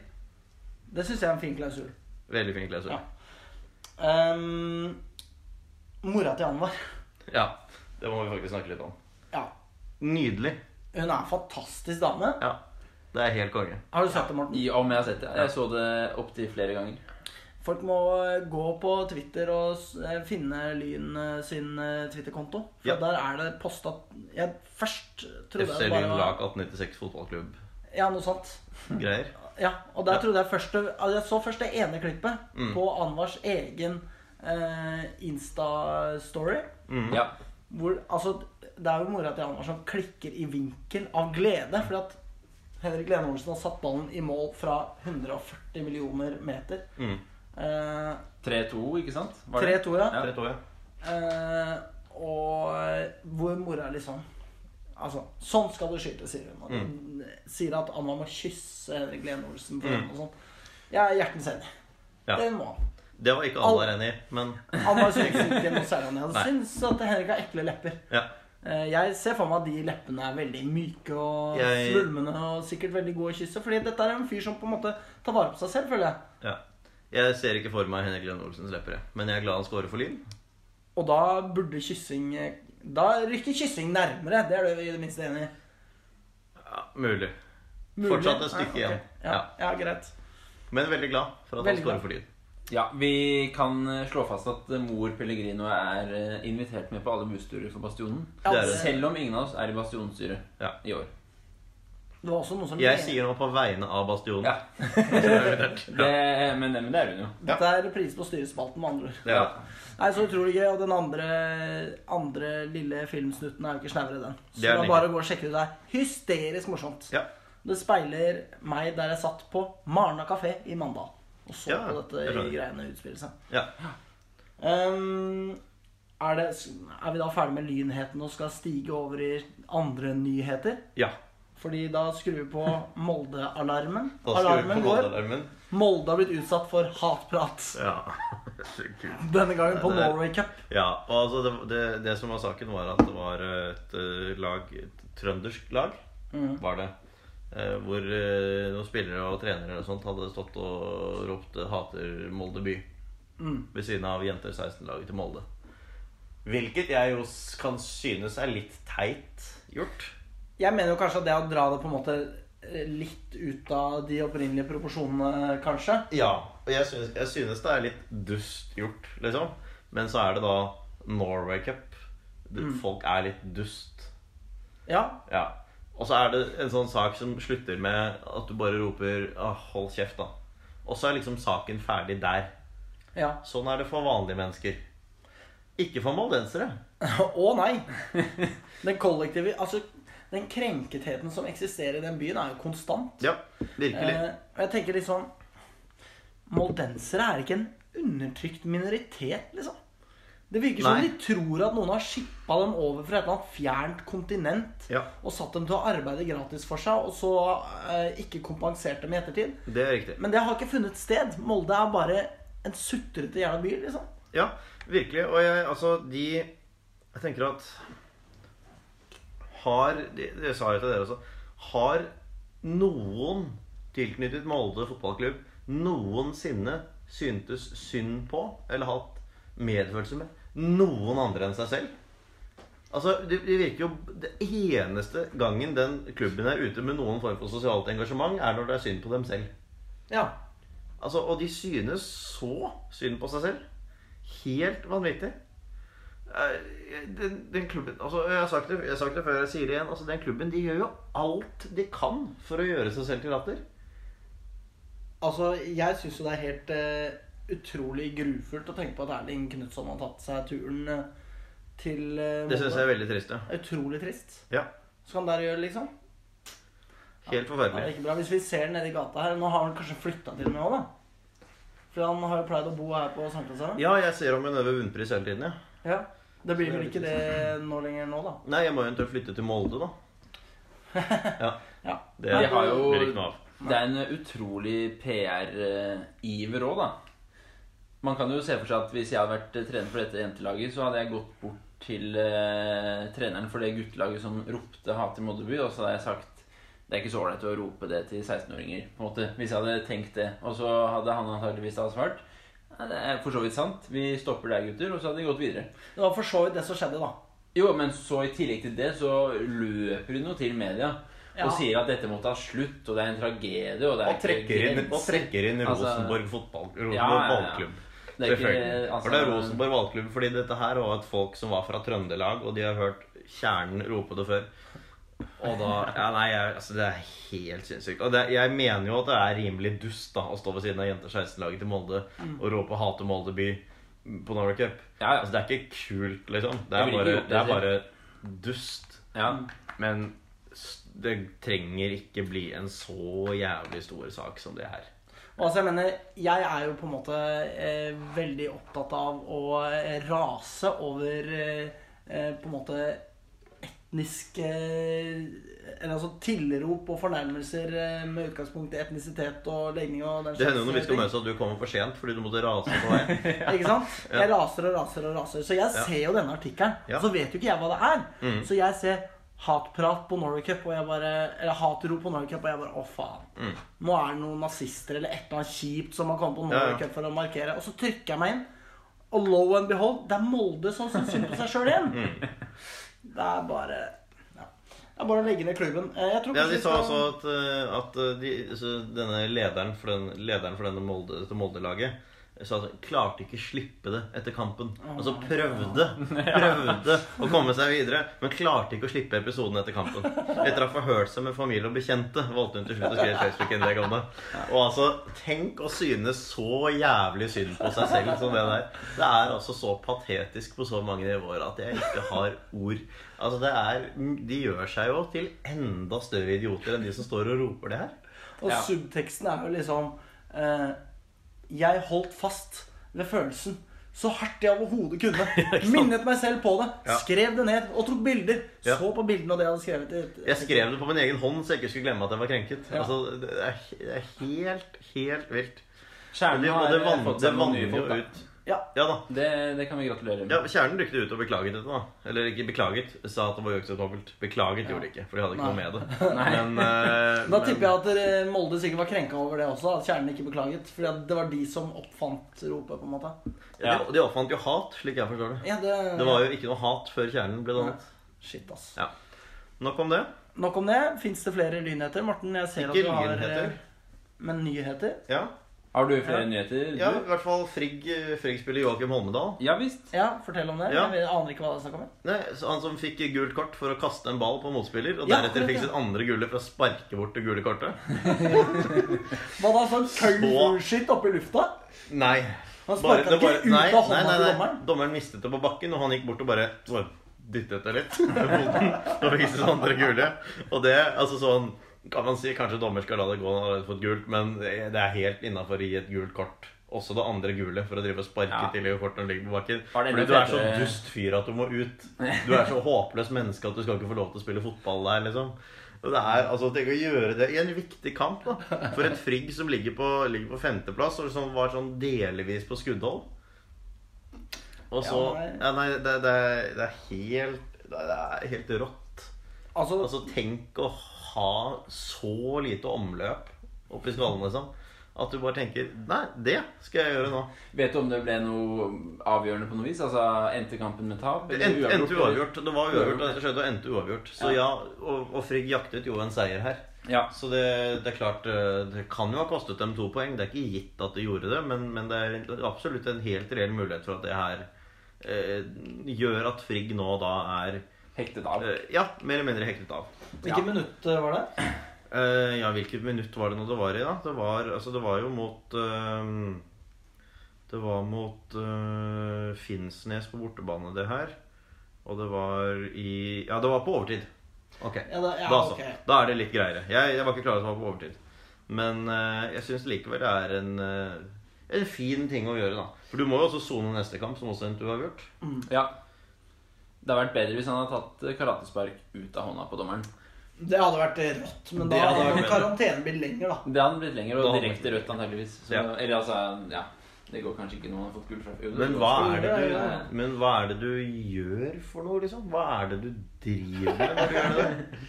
S1: Det syns jeg er en fin klausul.
S2: Veldig fin klausul.
S1: Ja.
S2: Ja.
S1: Ehm, mora til Anwar.
S2: Det må vi faktisk snakke litt om.
S1: Ja.
S2: Nydelig.
S1: Hun er en fantastisk dame.
S2: Ja. Det er helt konge.
S1: Har du sett det, Morten?
S3: I om jeg har sett det. Jeg så det opptil flere ganger.
S1: Folk må eh, gå på Twitter og s- eh, finne Lyn eh, sin eh, Twitter-konto. For
S2: Ja.
S1: der er det posta Jeg først trodde jeg
S2: FC
S1: det bare Mm.
S2: Lyn lag
S1: var
S2: 1896 fotballklubb.
S1: Ja, noe sånt.
S2: Greier.
S1: Ja, og der trodde jeg først altså, Jeg så først det ene klippet
S2: Mm.
S1: på Anwars egen eh, Insta-story.
S2: Mhm.
S3: Ja.
S1: Hvor Altså, det er jo mora til Anwar som klikker i vinkel av glede. Fordi at Henrik Lenholmsen har satt ballen i mål fra 140 millioner meter.
S2: Mm.
S1: Eh,
S3: 3-2, ikke sant? Var det?
S1: 3-2, ja.
S3: Ja.
S2: Rett over.
S1: Eh, og eh, hvor mora liksom Altså, sånn skal du skyte, sier hun. Og hun Sier at Anna må kysse Henrik Lene Olsen for henne og sånn. Jeg er hjertens enig.
S2: Ja.
S1: Den må han.
S2: Det var ikke alle der enig i, men
S1: Anna syns ikke noe særlig om det.
S2: Nei.
S1: Han syns at Henrik har ekle lepper.
S2: ja.
S1: Eh, Jeg ser for meg at de leppene er veldig myke og
S2: Jeg-
S1: svulmende og sikkert veldig gode å kysse. Fordi dette er en fyr som på en måte tar vare på seg selv, føler jeg.
S2: ja. Jeg ser ikke for meg Henrik Lønne Olsens leppere, men jeg er glad han scorer for Lyn.
S1: Og da burde kyssing eh, Da rykker kyssing nærmere. Det er du i det minste enig i.
S2: Ja, mulig.
S1: Mulig.
S2: Fortsatt et stykke
S1: Nei, ok.
S2: igjen.
S1: Ja,
S2: Ja.
S1: ja, greit.
S2: Men veldig glad for at
S1: Veldig
S2: han
S1: glad.
S2: scorer for Lyn.
S3: Ja, Vi kan eh, slå fast at eh, mor Pellegrino er eh, invitert med på alle bussturer for Bastionen.
S1: Ja,
S2: Det er
S1: det,
S3: Selv om ingen av oss er i Bastionstyret
S2: Ja.
S3: i år.
S1: det var også noen som
S2: Jeg sier noe på vegne av Bastionen.
S3: Ja, det, men, det, men det er hun jo.
S1: Dette er reprise på styrespalten, med andre ord.
S2: Ja.
S1: Nei, så utrolig gøy. Og den andre, andre lille filmsnutten er jo ikke snauere, den. Så
S2: Det er
S1: det
S2: den
S1: er bare å gå og sjekke det der. Hysterisk morsomt.
S2: Ja.
S1: Det speiler meg der jeg satt på Marna kafé i Mandal og så
S2: Ja,
S1: på dette
S2: jeg skjønner.
S1: greiene utspille seg.
S2: ja.
S1: Ehm, er, det, er vi da ferdig med lynheten og skal stige over i andre nyheter?
S2: ja.
S1: Fordi da skrur vi på Molde-alarmen.
S2: Da skrur vi
S1: Alarmen
S2: på
S1: går.
S2: målealarmen.
S1: Molde har blitt utsatt for hatprat.
S2: Ja. Kult.
S1: Denne gangen på
S2: Det er-
S1: Norway Cup.
S2: Ja, og altså det, det, det som var saken, var at det var et eh, lag Et trøndersk lag, var det. eh, Hvor eh, noen spillere og trenere og sånt hadde stått og ropt eh, 'hater Molde by' ved siden av jenter 16-laget til Molde. Hvilket jeg jo s- kan synes er litt teit gjort.
S1: Jeg mener jo kanskje at det å dra det på en måte eh, litt ut av de opprinnelige proporsjonene, kanskje.
S2: Ja, og jeg synes, jeg synes det er litt dust gjort, liksom. Men så er det da Norway Cup. Det- Folk er litt dust.
S1: Ja.
S2: Ja. Og så er det en sånn sak som slutter med at du bare roper «Åh, 'hold kjeft', da. Og så er liksom saken ferdig der.
S1: Ja.
S2: Sånn er det for vanlige mennesker. Ikke for moldensere.
S1: Å nei! Den kollektive Altså, den krenketheten som eksisterer i den byen, er jo konstant.
S2: Ja,
S1: Eh, og jeg tenker litt sånn Moldensere er ikke en undertrykt minoritet, liksom. Det virker som
S2: Nei.
S1: de tror at noen har shippa dem over fra et eller annet fjernt kontinent
S2: Ja.
S1: og satt dem til å arbeide gratis for seg, og så eh, ikke kompensert dem i ettertid.
S2: Det er riktig.
S1: Men det har ikke funnet sted. Molde er bare en sutrete jævla by, liksom.
S2: Ja, virkelig. Og jeg, altså, de Jeg tenker at Har Det det sa jeg til dere også. Har noen tilknyttet Molde fotballklubb noensinne syntes synd på eller hatt medfølelse med noen andre enn seg selv? Altså, det, det virker jo Det eneste gangen den klubben er ute med noen form for sosialt engasjement, er når det er synd på dem selv.
S1: Ja.
S2: Altså, og de synes så synd på seg selv. Helt vanvittig. Eh, Den, den klubben altså, Jeg har sagt det, jeg har sagt det før, jeg sier det igjen. Altså, den klubben de gjør jo alt de kan for å gjøre seg selv til latter.
S1: Altså, jeg syns jo det er helt eh, utrolig grufullt å tenke på at Erling Knutson har tatt seg turen eh, til eh,
S2: Det syns jeg
S1: Molde.
S2: er veldig trist. Ja.
S1: Utrolig trist.
S2: Ja,
S1: Så kan dere gjøre det, liksom. Ja,
S2: helt
S1: det er
S2: forferdelig.
S1: ikke bra. Hvis vi ser nede i gata her Nå har han kanskje flytta til og med òg, da. For han har jo pleid å bo her på Sankthanshaugen.
S2: Ja, jeg ser om en øver bunnpris hele tiden. Ja.
S1: Ja. Det blir vel ikke det nå lenger nå, da.
S2: Nei, jeg må jo eventuelt flytte til Molde, da. Ja,
S1: Ja.
S2: det
S3: De har jo-
S2: blir ikke noe av.
S3: Det er en utrolig PR-iver òg, da. Man kan jo se for seg at hvis jeg hadde vært eh, trener for dette jentelaget, så hadde jeg gått bort til eh, treneren for det guttelaget som ropte 'hat i Modderby', og så hadde jeg sagt det er ikke så ålreit å rope det til 16-åringer, på en måte, hvis jeg hadde tenkt det. Og så hadde han antakeligvis da svart «Nei, det er for så vidt sant, vi stopper der, gutter, og så hadde de gått videre.
S1: Det var for så vidt det som skjedde, da.
S3: Jo, men så i tillegg til det så løper hun jo til media
S1: Ja.
S3: og sier at dette må ta slutt, og det er en tragedie, og det er
S2: Og trekker inn, og
S3: grenser.
S2: trekker inn
S3: Altså-
S2: Rosenborg fotball, Rosenborg
S3: Ja, ja, ja.
S2: ballklubb.
S3: Det er ikke-
S2: Selvfølgelig.
S3: altså-
S2: For det er Rosenborg valgklubb. Fordi dette her var et folk som var fra Trøndelag, og de har hørt kjernen rope det før. Og da Ja, nei, jeg, altså, det er helt sinnssykt. Og det, jeg mener jo at det er rimelig dust da å stå ved siden av jenter 16-laget til Molde og rope 'hate Molde by' på Norway Cup.
S3: Ja, ja.
S2: Altså, det er ikke kult, liksom. Det
S3: Jeg
S2: er
S3: ville ikke
S2: bare,
S3: gjort det
S2: det er
S3: selv.
S2: bare dust.
S3: Ja.
S2: Men s- det trenger ikke bli en så jævlig stor sak som det her.
S1: Og altså, jeg mener, jeg er jo på en måte eh, veldig opptatt av å eh, rase over eh, eh, på en måte etnisk eh, Eller altså tilrop og fornærmelser eh, med utgangspunkt i etnisitet og legning og den
S2: Det hender jo når vi
S1: eh,
S2: skal
S1: ting.
S2: møtes at du kommer for sent fordi du måtte rase på vei.
S1: Ikke sant? Jeg raser og raser og raser. Så jeg ser jo denne artikkelen.
S2: Ja. Mm.
S1: Så vet jo ikke jeg hva det er. Så jeg ser hatprat på Norway Cup, og jeg bare, eller hatrop på Norway Cup, og jeg bare Å, faen.
S2: Mm.
S1: Nå er det noen nazister eller et eller annet kjipt som har kommet på Norway
S2: Ja, ja.
S1: Cup for å markere. Og så trykker jeg meg inn, og lo and behold, det er Molde som syns synd på seg sjøl igjen.
S2: Mm.
S1: Det er bare ja. Det er bare å legge ned klubben. Eh, Jeg tror
S2: Ja,
S1: kanskje
S2: De
S1: vi
S2: sa
S1: skal-
S2: også at, eh, at eh, de, så denne lederen for, den, lederen for denne Molde, dette Molde-laget sa at han klarte ikke slippe det etter kampen. Altså prøvde prøvde å komme seg videre, men klarte ikke å slippe episoden etter kampen. Etter å ha forhørt seg med familie og bekjente valgte hun til slutt å skrive et Facebook-innlegg om det. Og altså, tenk å synes så jævlig synd på seg selv som det der. Det er altså så patetisk på så mange nivåer at jeg ikke har ord. Altså, det er De gjør seg jo til enda større idioter enn de som står og roper det her.
S1: Og
S3: Ja.
S1: subteksten er jo liksom eh, Jeg holdt fast ved følelsen så hardt jeg overhodet kunne. Minnet meg selv på det.
S2: Ja.
S1: Skrev det ned og tok bilder.
S2: Ja.
S1: Så på bildene og det jeg hadde skrevet. i-
S2: Jeg skrev det på min egen hånd, så jeg ikke skulle glemme at jeg var krenket.
S1: Ja.
S2: Altså, det er, det er helt, helt vilt.
S3: Kjernen
S2: Det, og
S3: har eh,
S2: det, vann,
S3: fått
S2: det
S3: seg noen
S2: vanner
S3: nye
S2: jo
S3: folk, da.
S2: ut
S1: Ja.
S2: Ja da.
S3: Det, det kan vi gratulere med.
S2: Ja, Kjernen rykte ut og beklaget dette. da Eller ikke beklaget, sa at det var uakseptabelt. Beklaget gjorde de ikke, for de hadde ikke
S1: Nei.
S2: noe med det. Men, eh,
S1: Da
S2: men-
S1: tipper jeg at dere- Molde sikkert var krenka over det også. At kjernen ikke beklaget. Fordi at det var de som oppfant ropet, på en måte.
S2: Ja, de- De oppfant jo hat, slik jeg forstår det.
S1: Ja, det,
S2: Det var jo sånn. ikke noe hat før kjernen ble dannet.
S1: Shit, ass.
S2: Ja. Nok om det.
S1: Nok om det. Fins det flere lynheter? Morten, jeg ser
S2: Ikke
S1: at du har
S2: lynheter.
S1: eh, Men nyheter?
S2: Ja,
S3: Har du flere
S1: Ja.
S3: nyheter? Du?
S2: ja i hvert fall Frigg, Frigg spiller Joakim Holmedal.
S3: ja visst.
S1: Ja, fortell om det.
S2: Ja.
S1: Jeg aner ikke hva det er snakk om. jeg.
S2: Nei, så han som fikk gult kort for å kaste en ball på motspiller, og
S1: Ja,
S2: deretter
S1: akkurat,
S2: fikk
S1: ja.
S2: sitt andre gule for å sparke bort det gule kortet.
S1: Hva da, sånn kølvskitt oppi lufta?
S2: Nei.
S1: Han
S2: Bare-
S1: sparka
S2: det
S1: ikke
S2: bare-
S1: ut
S2: nei,
S1: av hånda
S2: nei, nei,
S1: til
S2: nei.
S1: dommeren?
S2: Dommeren mistet det på bakken, og han gikk bort og bare så dyttet det litt med foten. Og fikk sitt andre sånn gule. Og det, altså sånn kan man si, Kanskje dommer skal la det gå, han har allerede fått gult, men det er helt innafor å gi et gult kort. Også det andre gule, for å drive og sparke
S3: Ja.
S2: til i kortet når det ligger på bakken.
S3: Var det
S2: Fordi
S3: enda
S2: du er så
S3: fetere-
S2: dust fyr at du må ut. Du er så håpløst menneske at du skal ikke få lov til å spille fotball der, liksom. Og det er, altså, Tenk å gjøre det i en viktig kamp, da. For et Frigg som ligger på, ligger på femteplass, og som var sånn delvis på skuddhold. Og så
S1: Ja, nei.
S2: ja, Nei, det, det, er- det er helt det er- Det er helt rått.
S1: Altså,
S2: Altså, tenk å ha så lite omløp oppi skallen, liksom. At du bare tenker Nei, det skal jeg gjøre nå.
S3: Vet du om det ble noe avgjørende på noe vis? Altså, Endte kampen med tap?
S2: Det endte, endte
S3: eller?
S2: uavgjort. Det var uavgjort, og det skjedde og endte uavgjort. Så ja, og, og Frigg jaktet jo en seier her.
S3: Ja.
S2: Så det, det er klart eh, Det kan jo ha kostet dem to poeng. Det er ikke gitt at de gjorde det, men, men det er absolutt en helt reell mulighet for at det her eh, gjør at Frigg nå da er
S3: Hektet av.
S2: eh, Ja, mer eller mindre hektet av.
S1: hvilket minutt eh, var det?
S2: Eh, ja, hvilket minutt var det nå det var i, da? Det var, altså, det var jo mot eh, Det var mot eh, Finnsnes på bortebane, det her. Og det var i Ja, det var på overtid. Ok.
S1: Ja, da, ja,
S2: da, så.
S1: ok.
S2: da er altså- det litt greiere. Jeg, jeg var ikke klar over at det var på overtid. Men eh, jeg syns likevel det er en, eh, en fin ting å gjøre, da. For du må jo også sone neste kamp, som også endte uavgjort.
S3: Ja. Det hadde vært bedre hvis han hadde tatt karatespark ut av hånda på dommeren.
S1: Det hadde vært eh, rått, men da
S3: Det hadde
S1: hadde
S2: vært
S1: karantenen blitt lenger, da.
S3: Det hadde blitt lenger,
S2: Da
S3: og
S2: hadde
S3: direkte
S2: det
S3: rødt antageligvis. Så,
S2: Ja.
S3: Eller altså, ja. Det går kanskje ikke når man har fått gult fra Jo, det
S2: Men
S3: går
S2: hva,
S3: også.
S2: er det
S1: Ja, ja,
S2: du, men hva er det du gjør for noe, liksom? Hva er det du driver med når du gjør det?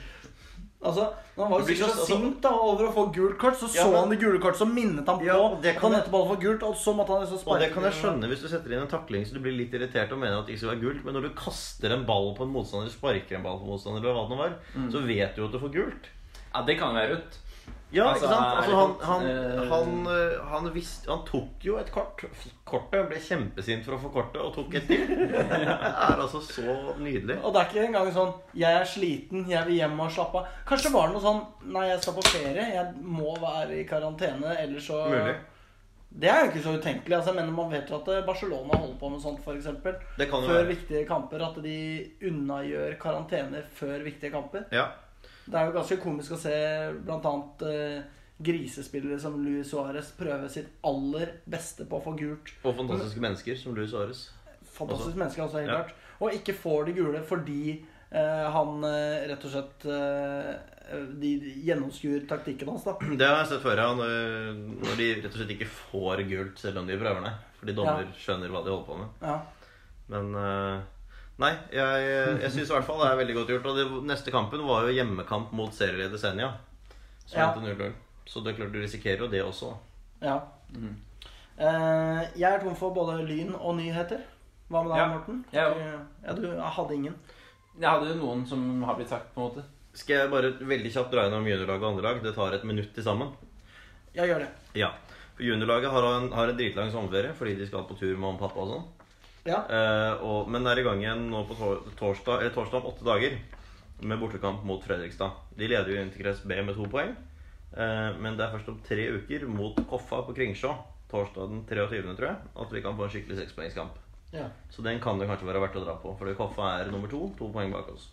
S1: Altså, Han var
S2: Det
S1: jo
S2: blir
S1: sikkert
S2: så-
S1: så sint da, over å få gult kort, så
S2: Ja,
S1: så
S2: men-
S1: han det gule kort, så minnet han på
S2: Ja, og det
S1: at
S2: kan
S1: han
S2: jeg-
S1: nettopp hadde fått gult, og så måtte han liksom
S2: Og
S1: sparke.
S2: det kan jeg skjønne hvis du setter inn en takling så du blir litt irritert og mener at det ikke skal være gult. Men når du kaster en ball på en motstander, sparker en ball på en motstander, eller hva det nå var, så vet du jo at du får gult.
S3: Ja, det kan være rødt.
S2: Ja,
S3: Altså,
S2: ikke sant?
S3: er
S2: Altså,
S3: det
S2: han,
S3: godt?
S2: han,
S3: Eh.
S2: han, eh, han, visste, han tok jo et kort. Fikk kortet, ble kjempesint for å få kortet, og tok et til. Det er altså så nydelig.
S1: Og det er ikke engang sånn 'Jeg er sliten, jeg vil hjem og slappe av'. Kanskje var det noe sånn 'Nei, jeg skal på ferie, jeg må være i karantene, ellers så
S2: Mulig.
S1: Det er jo ikke så utenkelig. altså, Men man vet jo at Barcelona holder på med sånt, f.eks.
S2: Det kan jo
S1: Før
S2: være.
S1: viktige kamper. At de unnagjør karantener før viktige kamper.
S2: Ja.
S1: Det er jo ganske komisk å se bl.a. Eh, grisespillere som Luis Suárez prøve sitt aller beste på å få gult.
S2: Og fantastiske mennesker som Louis Ares.
S1: Fantastisk
S2: Altså,
S1: menneske, altså, helt
S2: ja.
S1: klart. Og ikke får det gule fordi eh, han eh, rett og slett eh, De gjennomskuer taktikken hans, da.
S2: Det har jeg sett før, ja. Når når de rett og slett ikke får gult selv om de prøver det. Fordi dommer
S1: Ja.
S2: skjønner hva de holder på med.
S1: Ja.
S2: Men eh, Nei, jeg, jeg syns i hvert fall det er veldig godt gjort. Og det, neste kampen var jo hjemmekamp mot serieleder Senja. Som
S1: Ja.
S2: endte 0-0. Så det er klart du risikerer jo det også. da.
S1: ja.
S2: Mm.
S1: Eh, jeg er tom for både lyn og nyheter. Hva med deg,
S3: Ja.
S1: Morten?
S3: Jeg
S1: ja, du hadde ingen.
S3: Jeg hadde jo noen som har blitt sagt, på en måte.
S2: Skal jeg bare veldig kjapt dra gjennom juniorlag og andrelag? Det tar et minutt til sammen.
S1: Jeg gjør det.
S2: Ja. For Juniorlaget har en, har en dritlang sommerferie fordi de skal på tur med mamma og pappa og sånn.
S1: Ja.
S2: Eh, og, men er i gang igjen nå på tor- torsdag, eller torsdag om åtte dager med bortekamp mot Fredrikstad. De leder jo Interkrets B med to poeng, eh, men det er først om tre uker mot Koffa på Kringsjå torsdag den 23., tror jeg, at vi kan få en skikkelig sekspoengskamp.
S1: ja.
S2: Så den kan det kanskje være verdt å dra på, fordi Koffa er nummer to, to poeng bak oss.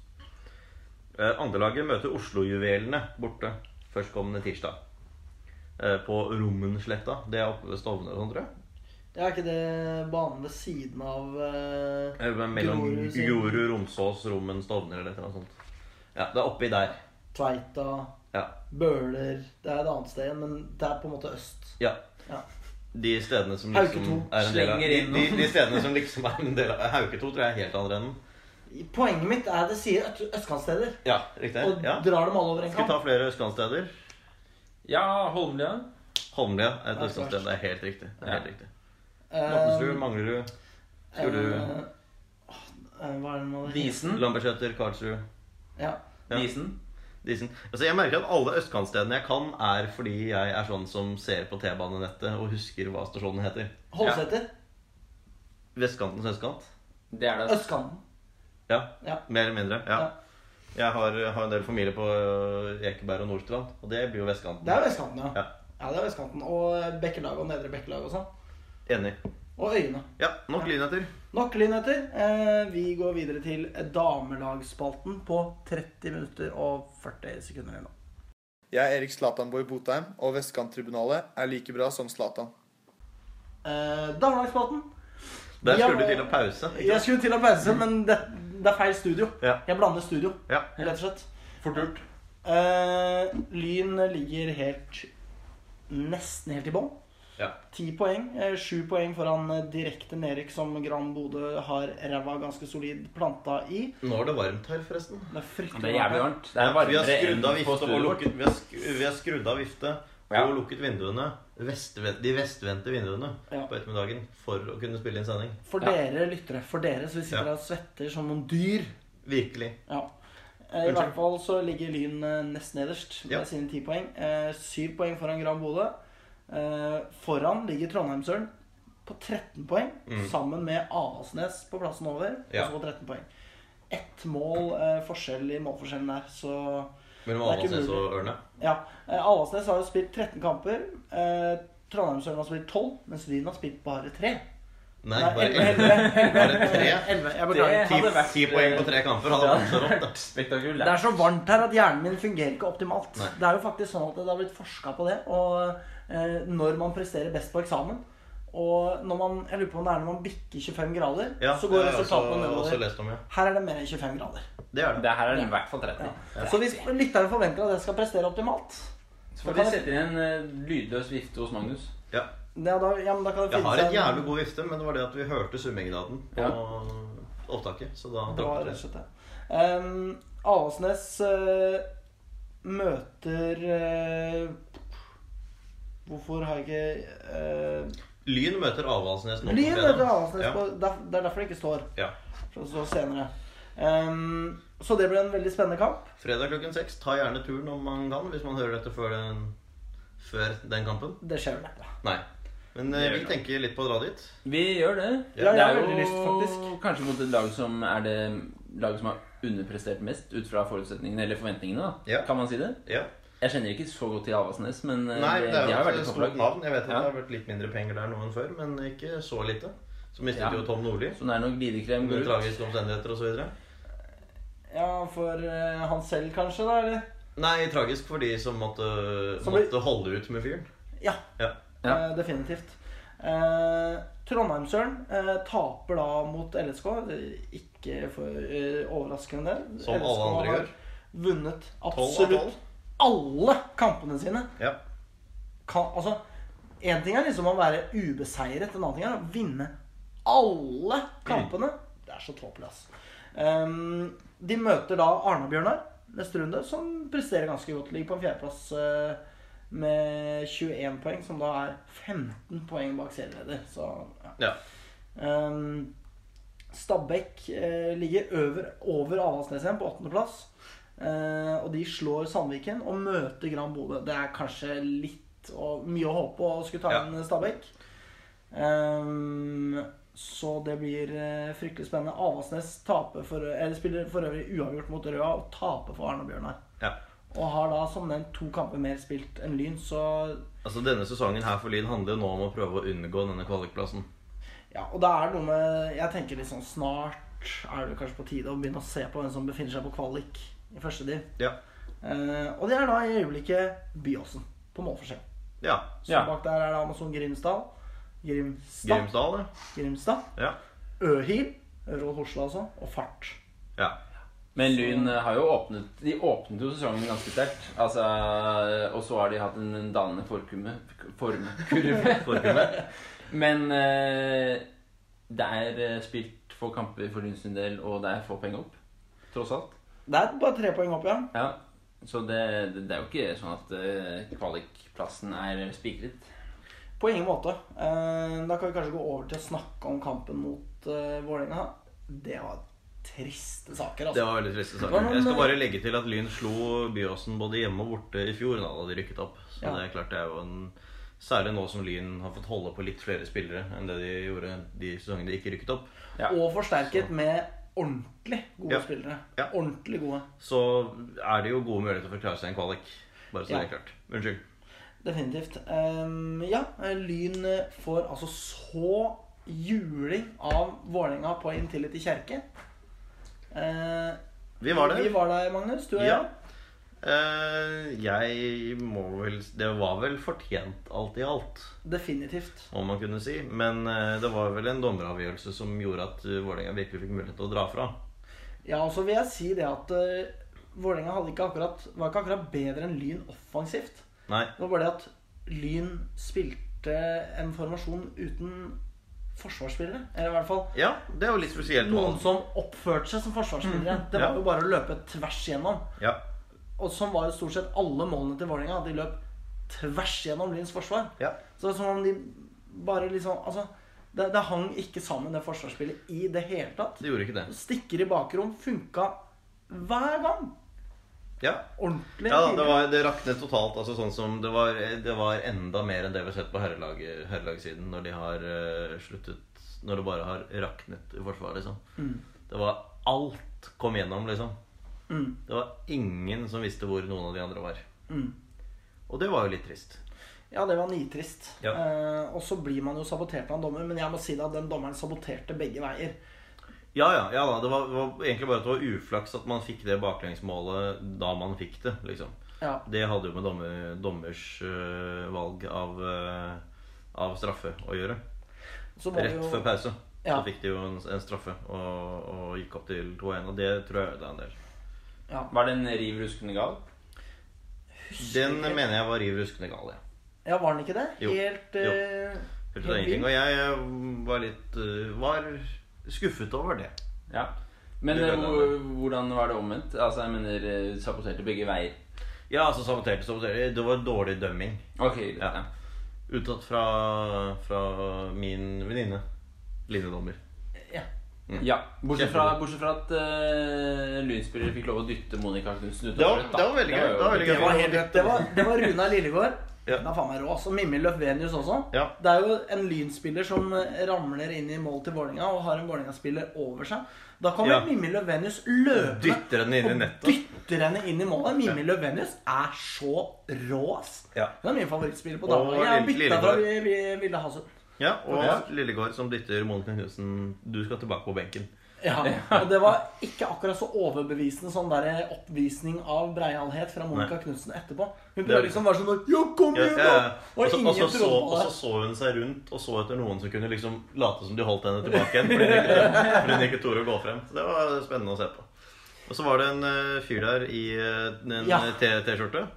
S2: Eh, Andrelaget møter Oslojuvelene borte førstkommende tirsdag. Eh, på Rommensletta. Det er oppe ved Stovner og sånn, tror jeg.
S1: Jeg er ikke det banen ved siden av eh,
S2: Eh, men Mellom
S1: Grorud sin-
S2: Jorud, Romsås, Rommen, Stovner eller et eller annet sånt. Ja, det er oppi der.
S1: Tveita,
S2: Ja.
S1: Bøler Det er et annet sted igjen, men det er på en måte øst.
S2: ja.
S1: Ja.
S2: de stedene som liksom
S1: Hauketo
S2: er en del av
S3: slenger
S2: de,
S3: inn
S2: de,
S3: noe.
S2: de stedene som liksom er en del av Hauketo, tror jeg er helt andre enden.
S1: Poenget mitt er det sier øst- østkantsteder.
S2: Ja, riktig.
S1: Og
S2: Ja.
S1: drar dem alle over en
S2: Skal vi
S1: kam.
S2: ta flere østkantsteder?
S3: Ja, Holmlia.
S2: Holmlia er et
S1: Nei,
S2: østkantsted.
S1: først.
S2: Det er helt riktig. Det er helt riktig. Mortensrud,
S1: Eh,
S2: Manglerud, Skulle du-
S1: eh, åh, eh, Hva er det nå? det heter?
S3: Disen.
S2: Lambertseter, Karlsrud,
S1: Ja.
S2: Ja.
S3: Disen.
S2: Disen. Altså, jeg merker at alle østkantstedene jeg kan, er fordi jeg er sånn som ser på T-banenettet og husker hva stasjonen heter.
S1: Hovseter.
S2: Vestkantens østkant.
S3: Det er
S2: Altså,
S3: det.
S1: Østkanten.
S2: Ja.
S1: Ja.
S2: Mer eller mindre. Ja.
S1: Ja.
S2: Jeg har, har en del familie på øh, Ekeberg og Nordstrand, og det blir jo vestkanten.
S1: Det er vestkanten, ja.
S2: Ja.
S1: ja. det er vestkanten. Og eh, Bekkelag og Nedre Bekkelag og sånn.
S2: Enig.
S1: Og øyene.
S2: Ja, nok linjetter.
S1: Nok lynheter. Eh, vi går videre til damelagsspalten på 30 minutter og 40 sekunder eller noe.
S5: Jeg er Erik Zlatanboy Botheim, og Vestkanttribunalet er like bra som Zlatan.
S1: Eh, damelagsspalten.
S2: Der
S1: Ja,
S2: skulle du
S1: men-
S2: til å pause.
S1: Jeg skulle til å pause, men det, det er feil studio.
S2: Ja.
S1: Jeg blander studio,
S2: Ja.
S1: rett og slett.
S3: Fort gjort.
S1: Eh, lyn ligger helt nesten helt i bånn.
S2: Ja.
S1: Ti poeng. eh, Sju poeng foran eh, direkte nedrykk, som Gran Bodø har ræva ganske solid planta i.
S2: Nå er det varmt her, forresten.
S1: Det er
S3: Det
S1: fryktelig
S3: er jævlig varmt. Det er
S2: Vi har
S3: varmere enn
S2: skrudd av
S3: på
S2: vifte og
S3: studioet vårt.
S2: lukket, vi har sk vi har skrudd av vifte
S3: Ja.
S2: og lukket vinduene. Vestven- de vestvendte vinduene
S1: Ja.
S2: på ettermiddagen for å kunne spille inn sending.
S1: For
S3: Ja.
S1: dere lyttere. For dere, så vi sitter
S2: Ja.
S1: her og svetter som noen dyr.
S2: Virkelig.
S1: Ja. Eh, I
S2: Unnskyld.
S1: hvert fall så ligger Lyn eh, nest nederst med
S2: Ja.
S1: sine ti poeng. Eh, Syv poeng foran Gran Bodø. Eh, Foran ligger Trondheimsølen på 13 poeng,
S2: Mm.
S1: sammen med Avaldsnes på plassen over.
S2: Ja.
S1: Og så 13 poeng. Ett mål eh, forskjell i målforskjellen der, så
S2: Mellom
S1: Det er ikke
S2: Avaldsnes
S1: mulig.
S2: og Ørne.
S1: Ja. Eh, Avaldsnes har jo spilt 13 kamper. Eh, Trondheimsølen har spilt 12, mens Lyn har spilt bare 3.
S2: Nei, bare
S1: elleve.
S2: elleve. Bare tre.
S1: 11. Jeg
S3: Det
S1: beklager.
S2: Ti,
S3: hadde vært-
S2: ti poeng på tre kamper hadde
S3: Ja.
S2: vært så rått. da.
S1: Det
S3: Spektakulært.
S1: er så varmt her at hjernen min fungerer ikke optimalt.
S2: Nei.
S1: Det er jo faktisk sånn at det har blitt forska på det. Og eh, når man presterer best på eksamen Og når man, jeg lurer på om det er når man bikker 25 grader,
S2: Ja,
S1: så går
S2: jeg har
S1: resultatene
S2: også- også
S1: nedover.
S2: lest om, ja.
S1: Her er det mer enn 25 grader.
S2: Det er det.
S3: Det her er i hvert fall 30.
S1: Så hvis lytterne forventer at jeg skal prestere optimalt
S3: Så
S1: da
S3: får de
S1: kan det,
S3: sette inn en eh, lydløs vifte hos Magnus.
S2: Ja.
S1: ja, da, ja, men da kan det
S2: Jeg
S1: finne
S2: har en
S1: seg en-
S2: jævlig god vifte, men det var det at vi hørte summegraden på
S3: Ja.
S2: opptaket. Så da
S1: Det var
S2: droppet
S1: rett og
S2: det.
S1: slett det. Ehm, Avaldsnes eh, møter eh, Hvorfor har jeg ikke eh,
S2: Lyn møter Avaldsnes nå. på
S1: Lyn
S2: fredag.
S1: møter Avaldsnes.
S2: Ja.
S1: på- derf- Det er derfor det ikke står.
S2: Ja.
S1: For det står senere. Ehm, så det ble en veldig spennende kamp.
S2: Fredag klokken seks. Ta gjerne turen om man kan, hvis man hører dette før den, før den kampen.
S1: Det skjer vel neppe.
S2: Nei. Men eh,
S3: Det gjør
S2: vi
S3: det.
S2: tenker litt på å dra dit.
S3: Vi gjør det.
S1: Ja, jeg
S3: det
S1: har
S3: er
S1: veldig lyst, faktisk.
S3: kanskje mot et lag som er det laget som har underprestert mest ut fra forutsetningene eller forventningene. da.
S2: Ja.
S3: Kan man si det?
S2: Ja.
S3: Jeg kjenner ikke så godt til Avaldsnes, men eh,
S2: Nei,
S3: de,
S2: det er
S3: de har
S2: jo
S3: vært
S2: et
S3: et
S2: stort
S3: topplag.
S2: navn. Jeg vet at
S3: Ja.
S2: det har vært litt mindre penger der nå enn før, men ikke så lite. Så mistet
S3: Ja.
S2: jo Tom Nordli.
S3: Så det er når glidekrem
S2: Under
S3: går ut.
S2: tragiske omstendigheter og så videre.
S1: Ja, for eh, han selv, kanskje? da, eller?
S2: Nei, tragisk for de som måtte,
S1: Som blir-
S2: måtte holde ut med fyren.
S1: Ja,
S2: Ja.
S3: Ja.
S1: eh, definitivt. Uh, Trondheimsølen eh, taper da mot LSK. Eh, Ikke for, eh, overraskende.
S2: Som alle
S1: LSK
S2: andre
S1: har
S2: gjør.
S1: Vunnet
S2: 12 av
S1: absolutt
S2: 12.
S1: alle kampene sine.
S2: Ja.
S1: kan, altså, en ting er liksom å være ubeseiret, en annen ting er å vinne alle kampene. Det er så tåpelig, altså. Ehm, de møter da Arna-Bjørnar neste runde, som presterer ganske godt. Ligger på en fjerdeplass eh, med 21 poeng, som da er 15 poeng bak serieleder. Så ja.
S2: ja.
S1: Ehm, Stabæk eh, ligger over, over Avaldsnes igjen, på åttendeplass. Eh, og de slår Sandviken og møter Gran Bodø. Det er kanskje litt og mye å håpe på å skulle ta
S2: Ja.
S1: inn Stabæk. Ehm, så det blir eh, fryktelig spennende. Avaldsnes taper for, eller spiller for øvrig uavgjort mot Røa og taper for Arne Bjørnar.
S2: ja.
S1: Og har da som nevnt to kamper mer spilt enn Lyn, så
S2: Altså Denne sesongen her for Lyn handler jo nå om å prøve å unngå denne kvalikplassen.
S1: Ja, og det er noe med Jeg tenker litt sånn snart er det kanskje på tide å begynne å se på hvem som befinner seg på kvalik i første div.
S2: Ja.
S1: Eh, og det er da i øyeblikket Byåsen på målforskjell.
S2: ja.
S1: Så
S3: Ja.
S1: bak der er det Amazon Grimsdal, Grimstad,
S2: Grimsdal, ja.
S1: Grimstad
S2: ja.
S1: Øhil, Råd Hosle altså, og Fart.
S2: ja.
S3: Men Lyn eh, har jo åpnet De åpnet jo sesongen ganske sterkt. Altså, og så har de hatt en dalende forkurve. formkurve.
S2: Forkurve.
S3: Men eh, det er eh, spilt få kamper for Lyns sin del, og det er få penger opp. Tross alt.
S1: Det er bare tre poeng opp, ja.
S3: Ja, Så det, det er jo ikke sånn at eh, kvalikplassen er spikret.
S1: På ingen måte. Eh, Da kan vi kanskje gå over til å snakke om kampen mot uh, Vålerenga. Det var triste saker,
S2: Det
S1: altså.
S2: var veldig triste
S1: Det var
S2: saker.
S1: noen-
S2: Jeg skal bare legge til at Lyn slo Byåsen både hjemme og borte i fjor da da de rykket opp. Så
S1: Ja.
S2: det er klart det er jo en Særlig nå som Lyn har fått holde på litt flere spillere enn det de gjorde de sesongene de ikke rykket opp.
S3: Ja.
S1: Og forsterket med ordentlig gode
S2: Ja.
S1: spillere.
S2: Ja.
S1: Ordentlig gode.
S2: Så er det jo gode muligheter for å klare seg i en kvalik. Bare så
S1: Ja.
S2: det er klart. Unnskyld.
S1: Definitivt. Eh, ja, eh, Lyn eh, får altså så juling av Vålerenga på Intility kjerke. Eh,
S2: Vi var der.
S1: Vi var der, Magnus. Du og
S2: Ja.
S1: jeg.
S2: Eh, jeg må vel Det var vel fortjent alt i alt,
S1: Definitivt.
S2: må man kunne si. Men eh, det var vel en dommeravgjørelse som gjorde at eh, Vålerenga virkelig fikk mulighet til å dra fra.
S1: Ja, og så vil jeg si det at uh, Vålerenga hadde ikke akkurat, var ikke akkurat bedre enn Lyn offensivt.
S2: Nei.
S1: Det var bare det at Lyn spilte en formasjon uten forsvarsspillere. Eller i hvert fall
S2: Ja, det er jo litt spesielt.
S1: noen som oppførte seg som forsvarsspillere. Det var
S2: Mhm. Ja.
S1: jo bare å løpe tvers gjennom.
S2: Ja.
S1: Og sånn var jo stort sett alle målene til Vålerenga. at De løp tvers gjennom Lyns forsvar.
S2: ja.
S1: Så det er som om de bare liksom Altså, det, det hang ikke sammen, det forsvarsspillet, i det hele tatt.
S2: Det gjorde ikke det.
S1: Stikker i bakrom funka hver gang.
S2: Ja.
S1: Ordentlig.
S2: Ja, da, det,
S1: tidlig.
S2: var, det raknet totalt. altså sånn som Det var, det var enda mer enn det vi har sett på herrelaget- herrelagssiden når de har eh, sluttet Når det bare har raknet i forsvaret, liksom. Det var Alt kom gjennom, liksom.
S1: Mm.
S2: Det var ingen som visste hvor noen av de andre var.
S1: Mm.
S2: Og det var jo litt trist.
S1: Ja, det var nitrist.
S2: Ja.
S1: Eh, og så blir man jo sabotert av en dommer, men jeg må si det at den dommeren saboterte begge veier.
S2: Ja, ja, ja da, det var, det var egentlig bare at det var uflaks at man fikk det baklengsmålet da man fikk det, liksom.
S1: Ja,
S2: Det hadde jo med dommer, dommers øh, valg av, øh, av straffe å gjøre.
S1: så må vi
S2: Rett
S1: jo-
S2: før pause så
S1: Ja.
S2: fikk de jo en, en straffe og, og gikk opp til 2-1. Og det tror jeg ødela en del.
S1: Ja.
S3: Var den riv ruskende gal?
S2: Den mener jeg var riv ruskende gal, ja.
S1: ja, var den ikke det?
S2: Jo.
S1: Helt,
S2: Jo.
S1: eh,
S2: Helt fra
S1: helt vill.
S2: ingenting. Og jeg øh, var litt øh, var skuffet over det.
S3: Ja. Men
S2: Det
S3: eh,
S2: kan
S3: hvor- hvordan var det omvendt? Altså, jeg mener, eh, saboterte begge veier.
S2: Ja, altså saboterte, saboterte. Det var dårlig dømming.
S3: Ok, greit,
S2: Ja.
S3: ja.
S2: Uttatt fra, fra min venninne. Linjedommer.
S1: Ja.
S2: Mm.
S3: Ja, bortsett fra,
S2: Kjempebra.
S3: bortsett fra at uh, lynspillere fikk lov å dytte Monica Knutsen ut.
S2: Det var-
S3: av rødt, da.
S2: det var veldig gøy,
S3: jo-
S2: det var veldig
S1: Det
S2: gøy.
S1: var, helt, det var, det var Runa Lillegård.
S2: Ja.
S1: Den er faen meg rå. også. Mimmi Løfvenius også.
S2: Ja.
S1: Det er jo en Lyn-spiller som ramler inn i mål til Vålerenga og har en Vålerenga-spiller over seg. Da kommer
S2: Ja.
S1: Mimmi Løfvenius løpende
S2: Dytter henne inn i
S1: og
S2: nettet.
S1: Dytter henne inn i målet. Mimmi Løfvenius er så rå, ass.
S2: Ja.
S1: Hun er min favorittspiller på
S2: Og
S1: dama. Jeg har
S2: Lill-
S1: bytta fra vi,
S2: Lillegård.
S1: vi ville ha så
S2: Ja, og
S3: Faktisk.
S2: Lillegård som dytter Monica Knutsen Du skal tilbake på benken.
S1: ja. Og det var ikke akkurat så overbevisende sånn der oppvisning av breialhet fra Monica Knutsen etterpå. Hun prøvde liksom bare sånn Jo, kom
S2: Ja,
S1: igjen,
S2: ja, ja.
S1: da!
S2: Og
S1: Og
S2: så- og
S1: ingen
S2: så så,
S1: trodde på
S2: og så
S1: det.
S2: så hun seg rundt og så etter noen som kunne liksom late som de holdt henne tilbake igjen. Fordi hun ikke- fordi hun ikke torde å gå frem. Så det var spennende å se på. Og så var det en eh, fyr der i eh, en
S1: Ja.
S2: T- T-skjorte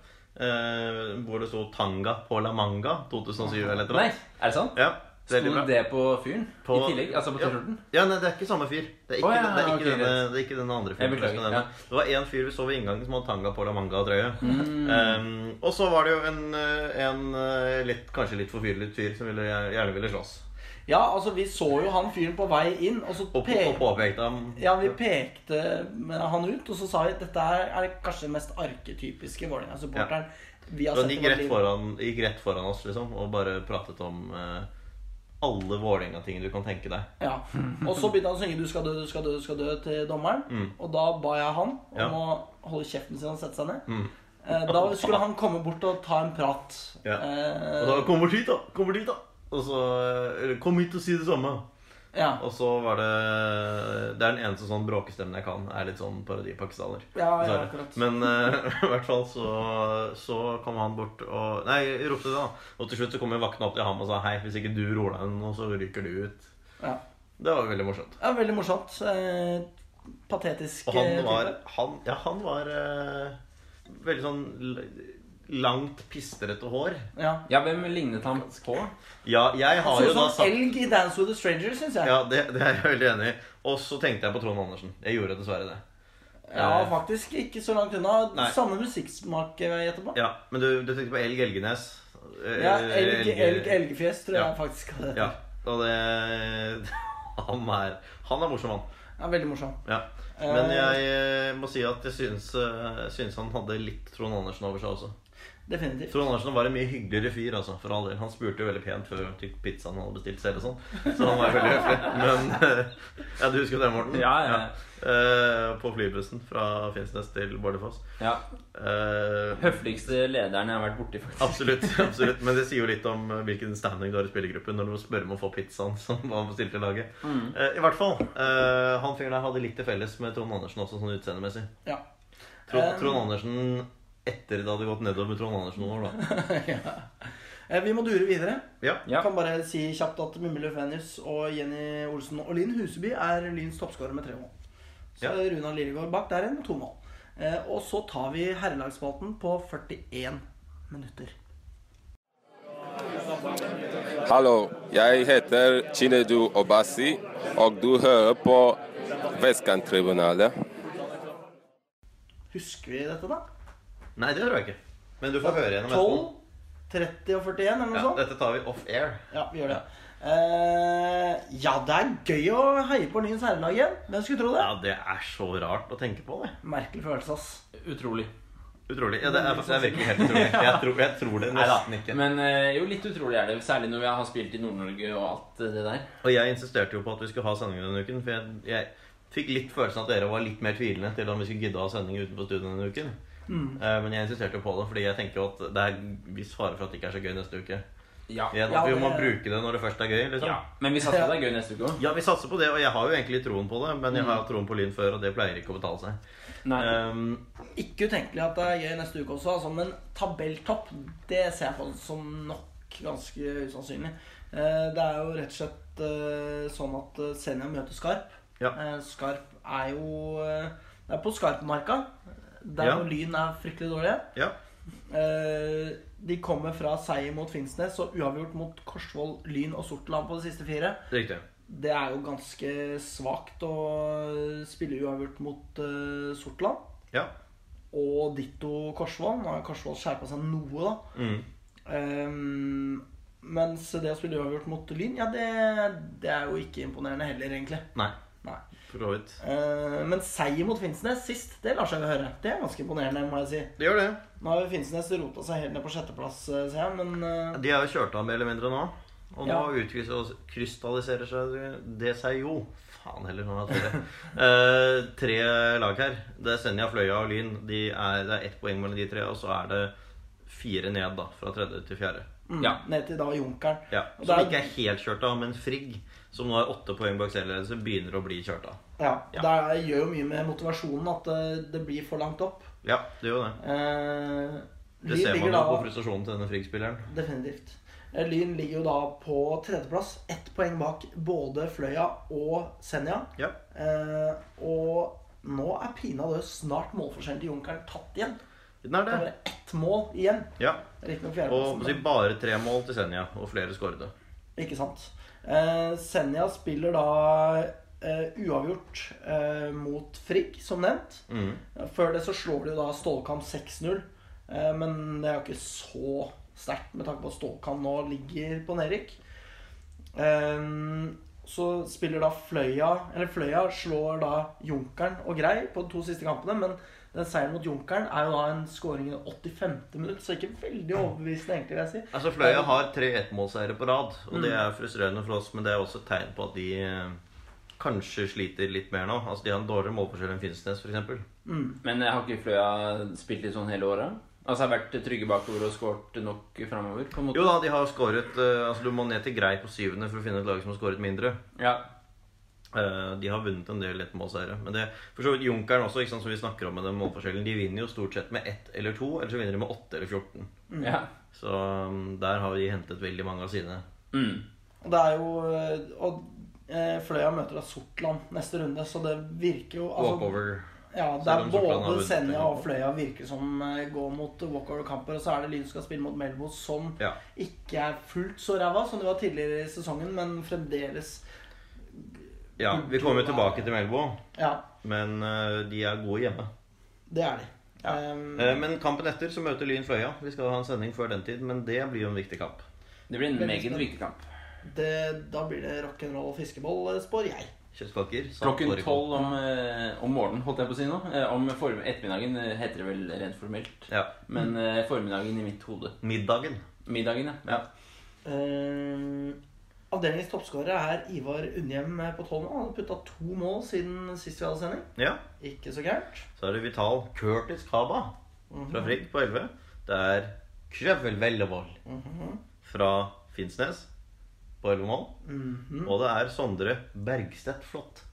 S2: eh, hvor det sto 'Tanga på la manga 2007' eller et eller
S3: Nei,
S2: annet.
S3: er det sant?
S2: Ja, veldig
S3: Sto
S2: bra.
S3: det på fyren
S2: På-
S3: i tillegg? Altså på T-skjorten?
S2: Ja, nei, det er ikke samme fyr. Det er ikke,
S3: Å, ja,
S2: det er ikke,
S3: ok,
S2: denne,
S3: greit.
S2: det er ikke denne andre
S3: Jeg
S2: fyren.
S3: beklager,
S2: som er
S3: ja.
S2: denne. Det var en fyr vi så ved inngangen som hadde tanga på la manga-trøye.
S3: Mm.
S2: Um, og så var det jo en, eh, en eh, litt, kanskje litt forfyrlet fyr som ville, gjerne ville slåss.
S1: Ja, altså, vi så jo han fyren på vei inn, og så
S2: Og, på- og
S1: pekte
S2: påpekte ham
S1: ja, altså, vi pekte han ut, og så sa vi dette er, er kanskje den mest arketypiske Vålerenga-supporteren vi har
S2: Og Han
S1: sett. i
S2: gikk
S1: vårt
S2: rett,
S1: liv.
S2: foran, gikk rett foran oss liksom og bare pratet om eh, alle Vålerenga-ting du kan tenke deg.
S1: Ja. Og så begynte han å synge 'Du skal dø, du skal dø, du skal dø' til dommeren. Og da ba jeg han om
S2: Mm. Ja. Mm.
S1: å holde kjeften sin og sette seg ned. Eh, Da skulle han komme bort og ta en prat.
S2: Ja.
S1: Eh,
S2: Og da 'Kom bort hit, da!' Kom bort hit, da! Og så eh, eller, 'Kom hit og si det samme'.
S1: ja.
S2: Og så var det Det er den eneste sånn bråkestemmen jeg kan. Er litt sånn parodipakistaner.
S1: Ja, ja,
S2: Dessverre.
S1: akkurat.
S2: Men eh, i hvert fall så, så kom han bort og Nei, jeg ropte det, da. Og til slutt så kom jo vakten opp til ham og sa hei, hvis ikke du roer deg nå, så ryker du ut.
S1: ja.
S2: Det var veldig morsomt.
S1: ja veldig morsomt. Eh, patetisk
S2: Og han
S1: eh,
S2: var,
S1: type.
S2: han, ja, han var eh, veldig sånn l- langt, pistrete hår.
S1: Ja.
S3: Ja, hvem lignet han på?
S2: Ja, jeg har
S1: Sånn
S2: jo da
S1: som
S2: sagt
S1: elg i Dance with a Stranger, syns jeg.
S2: Ja, det, det er jeg veldig enig i. Og så tenkte jeg på Trond Andersen. Jeg gjorde dessverre det.
S1: Ja,
S2: Eh,
S1: faktisk ikke så langt unna.
S2: Nei.
S1: Samme musikksmak, vil jeg gjetter på.
S2: Ja, Men du, du tenkte på Elg Elgenes. Eh,
S1: Ja, elg,
S2: Elg-
S1: elg, elgfjes tror
S2: Ja.
S1: jeg faktisk det
S2: Ja, og det Han er, han er morsom, han.
S1: er veldig morsom.
S2: Ja. Men jeg eh, må si at jeg syns, eh, syns han hadde litt Trond Andersen over seg også.
S1: Definitivt.
S2: Trond Andersen var en mye hyggeligere fyr, altså, for all del. Han spurte jo veldig pent før til pizzaen han hadde bestilt selv og sånn. Så han var veldig høflig. Men eh, Ja, du husker det, Morten?
S3: Ja, ja.
S2: Eh, På flybussen fra Finnsnes til Bardufoss.
S3: Ja,
S2: Eh,
S3: Høfligste lederen jeg har vært borti, faktisk.
S2: Absolutt. absolutt Men det sier jo litt om eh, hvilken standing du har i spillergruppen når du må spørre om å få pizzaen som var bestilt til laget.
S1: Mm.
S2: Eh, I hvert fall. eh, han fyren der hadde litt til felles med Trond Andersen også, sånn utseendemessig.
S1: Ja.
S2: Trond,
S1: Eh,
S2: Trond Andersen etter det hadde gått nedover med Trond Andersen noen år, da.
S1: Eh, Vi må dure videre.
S2: Ja.
S3: Ja.
S1: Kan bare si kjapt at Mimmi Løfvenius og Jenny Olsen og Linn Huseby er Lyns toppskårer med tre mål. Så
S2: Ja.
S1: Runa Lillegård bak der igjen med to mål. Eh, Og så tar vi herrelagsspalten på 41 minutter.
S6: Hallo, jeg heter Chinedu Obasi, og du hører på Vestkanttribunalet.
S1: Husker vi dette, da?
S2: Nei, det tror jeg ikke. Men du får høre gjennom
S1: 12, 30 og 41, eller noe
S2: Ja,
S1: sånt?
S2: dette tar vi off air.
S1: Ja, vi gjør det. Eh, ja, det er gøy å heie på Lyns herrelag igjen. Hvem skulle tro det?
S2: Ja, det er så rart å tenke på, det.
S1: Merkelig følelse, ass.
S3: Utrolig.
S2: Utrolig. Ja, det er, det er virkelig helt utrolig. Jeg tror, jeg tror det
S3: Neida.
S2: nesten ikke.
S3: Men eh, jo, litt utrolig er det. Særlig når vi har spilt i Nord-Norge og alt det der.
S2: Og jeg insisterte jo på at vi skulle ha sending denne uken, for jeg, jeg fikk litt følelsen at dere var litt mer tvilende til om vi skulle gidde å ha sending utenfor studio denne uken. Eh, Men jeg insisterte jo på det, fordi jeg tenker jo at det er viss fare for at det ikke er så gøy neste uke.
S3: Ja.
S2: Igjen,
S1: Ja,
S2: at vi
S1: det-
S2: må bruke det når det først er gøy. liksom.
S3: ja. Men vi satser på det er gøy neste uke òg.
S2: Ja, vi satser på det, og jeg har jo egentlig troen på det, men jeg har hatt troen på Lyn før, og det pleier ikke å betale seg. Um,
S1: Ikke utenkelig at det er gøy neste uke også, altså, men tabelltopp det ser jeg på som nok ganske usannsynlig. Eh, det er jo rett og slett eh, sånn at eh, Senja møter Skarp.
S2: Ja.
S1: Eh, Skarp er jo eh, Det er på Skarpmarka, der
S2: Ja.
S1: hvor Lyn er fryktelig dårlige.
S2: ja.
S1: Eh, de kommer fra seier mot Finnsnes og uavgjort mot Korsvoll, Lyn og Sortland på de siste fire.
S2: Riktig.
S1: Det er jo ganske svakt å eh, spille uavgjort mot eh, Sortland.
S2: Ja.
S1: Og ditto Korsvoll. Nå har Korsvoll skjerpa seg noe, da.
S2: Mm.
S1: Ehm, mens det å spille uavgjort mot Lyn, ja, det, det er jo ikke imponerende heller, egentlig.
S2: Nei,
S1: Nei.
S2: for så vidt.
S1: Eh, men seier mot Finnsnes sist, det lar seg jo høre. Det er ganske imponerende, må jeg si.
S2: Det gjør det.
S1: Nå har jo Finnsnes rota seg helt ned på sjetteplass, eh, ser jeg, men eh,
S2: De er jo kjørt av mer eller mindre nå. Og nå
S1: Ja.
S2: utkrystalliserer seg det seg jo Faen heller, nå har jeg tatt det. Eh, tre lag her. Det er Senja, Fløya og Lyn. De er, det er ett poeng mellom de tre, og så er det fire ned, da. Fra tredje til fjerde.
S1: mm,
S3: Ja.
S1: ned til da Junkeren.
S2: Ja,
S1: Og
S2: Som
S1: det er-
S2: ikke er helt kjørt av, men Frigg, som nå har åtte poeng bak selvledelse, begynner å bli kjørt av.
S1: Ja,
S2: Ja.
S1: Det gjør jo mye med motivasjonen at det, det blir for langt opp.
S2: Ja, det gjør jo det.
S1: Eh,
S2: Det
S1: Lyn
S2: ser
S1: ligger
S2: man jo på
S1: da,
S2: frustrasjonen til denne Frigg-spilleren.
S1: Definitivt. Eh, Lyn ligger jo da på tredjeplass, ett poeng bak både Fløya og Senja.
S2: Ja.
S1: Eh, og nå er pinadø snart målforskjellen til Junkeren tatt igjen.
S2: Den er
S1: Det er
S2: det.
S1: bare ett mål igjen.
S2: Ja.
S1: Riktignok
S2: Og
S1: fjerdeplassen.
S2: si, bare tre mål til Senja, og flere skårede.
S1: Ikke sant. Eh, Senja spiller da eh, uavgjort eh, mot Frigg, som nevnt.
S2: Mhm.
S1: Før det så slår de jo da Stålkamp 6-0, eh, men det er jo ikke så sterkt med tanke på at Stålkamp nå ligger på nedrykk. Eh, så spiller da Fløya Eller Fløya slår da Junkeren og Grei på de to siste kampene, men den seieren mot Junkeren er jo da en scoring i det 85. minutt, så ikke veldig overbevisende, egentlig, vil jeg si.
S2: Altså Fløya har tre ettmålseiere på rad, og det er frustrerende for oss. Men det er også et tegn på at de eh, kanskje sliter litt mer nå. Altså De har en dårligere målforskjell enn Finnsnes, f.eks.
S3: Men jeg har ikke Fløya spilt litt sånn hele året? Altså har vært trygge bakover og skåret nok framover? På en måte.
S2: Jo da, de har skåret eh, Altså Du må ned til grei på syvende for å finne et lag som har skåret mindre.
S3: Ja.
S2: Eh, De har vunnet en del ettmålseiere. Men det for så vidt Junkeren også, ikke sant, som vi snakker om med den målforskjellen, de vinner jo stort sett med ett eller to, eller så vinner de med åtte eller 14.
S3: ja.
S2: Så mm, um, der har de hentet veldig mange av sine.
S3: Mm.
S1: Og det er jo Og eh, Fløya møter da Sortland neste runde, så det virker jo altså,
S2: Walkover.
S1: Ja, det er
S2: Selv om Sortland har
S1: både
S2: vunnet
S1: Senja
S2: en
S1: og Fløya virker som eh, går mot walkover-kamper, og så er det Lyn som skal spille mot Melbo, som
S2: Ja.
S1: ikke er fullt så ræva som det var tidligere i sesongen, men fremdeles
S2: ja. Vi kommer jo tilbake til Melbo,
S1: Ja,
S2: men eh, de er gode hjemme.
S1: det er de.
S2: Ja.
S1: Ehm,
S2: Eh, Men kampen etter så møter Lyn Fløya. Vi skal ha en sending før den tid, men det blir jo en viktig kamp.
S3: Det blir en
S1: Veldig
S3: meget
S1: spennende.
S3: viktig kamp.
S1: det, da blir det rock'n'roll og fiskeboll, eh, spår jeg.
S2: Kjøttkaker. samt
S3: Klokken
S2: fårikål.
S3: tolv om, eh, om morgenen, holdt jeg på å si nå. Eh, Om form ettermiddagen eh, heter det vel rent formelt.
S2: Ja.
S3: Men eh, formiddagen i mitt hode.
S2: Middagen.
S3: Middagen, ja. ja.
S1: Ehm, avdelingens toppskårer er Ivar Unnhjem på tolv nå. Han har putta to mål siden sist vi hadde sending.
S2: Ja.
S1: Ikke så gærent.
S2: Så er det Vital Curtis Kaba fra Frigg på 11. Det er Krøvel Vellevold fra Finnsnes på 11 mål. Og det er Sondre Bergstedt Flått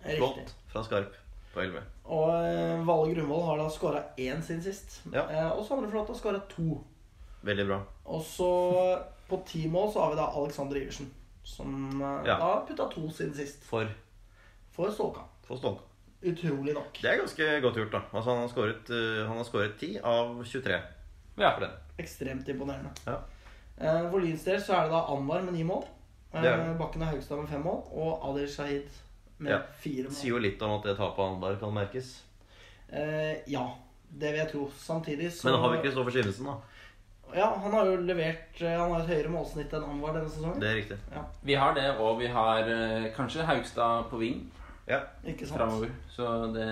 S1: Riktig.
S2: Flått fra Skarp på 11.
S1: Og eh, Valle Grunvoll har da skåra én siden sist.
S2: Ja.
S1: Eh, og Sondre Flått har skåra to.
S2: Veldig bra.
S1: Og så på ti mål så har vi da Alexander Iversen. Som eh, da
S2: Ja.
S1: har putta to siden sist.
S2: For,
S1: For Stålka.
S2: for Stålka.
S1: Utrolig nok.
S2: Det er ganske godt gjort, da. Altså, han har skåret, eh, han har skåret 10 av 23
S3: ja.
S2: for den.
S1: Ekstremt imponerende.
S2: Ja.
S1: Eh, for Lyns del så er det da Anwar med ni mål. Eh,
S2: Det er det.
S1: Bakken og Haugstad med fem mål. Og Adir Shahid med
S2: Ja.
S1: fire
S2: Det
S1: mål.
S2: sier jo litt om at det tapet av Anbar kan merkes.
S1: Eh, ja, det vil jeg tro. Samtidig så
S2: Men har vi Kristoffer Simensen, da?
S1: Ja, han har jo levert eh, Han har et høyere målsnitt enn Anwar denne sesongen.
S2: Det er riktig.
S3: Vi har det, og vi har eh, kanskje Haugstad på ving
S2: Ja.
S1: Ikke sant?
S3: framover. Så det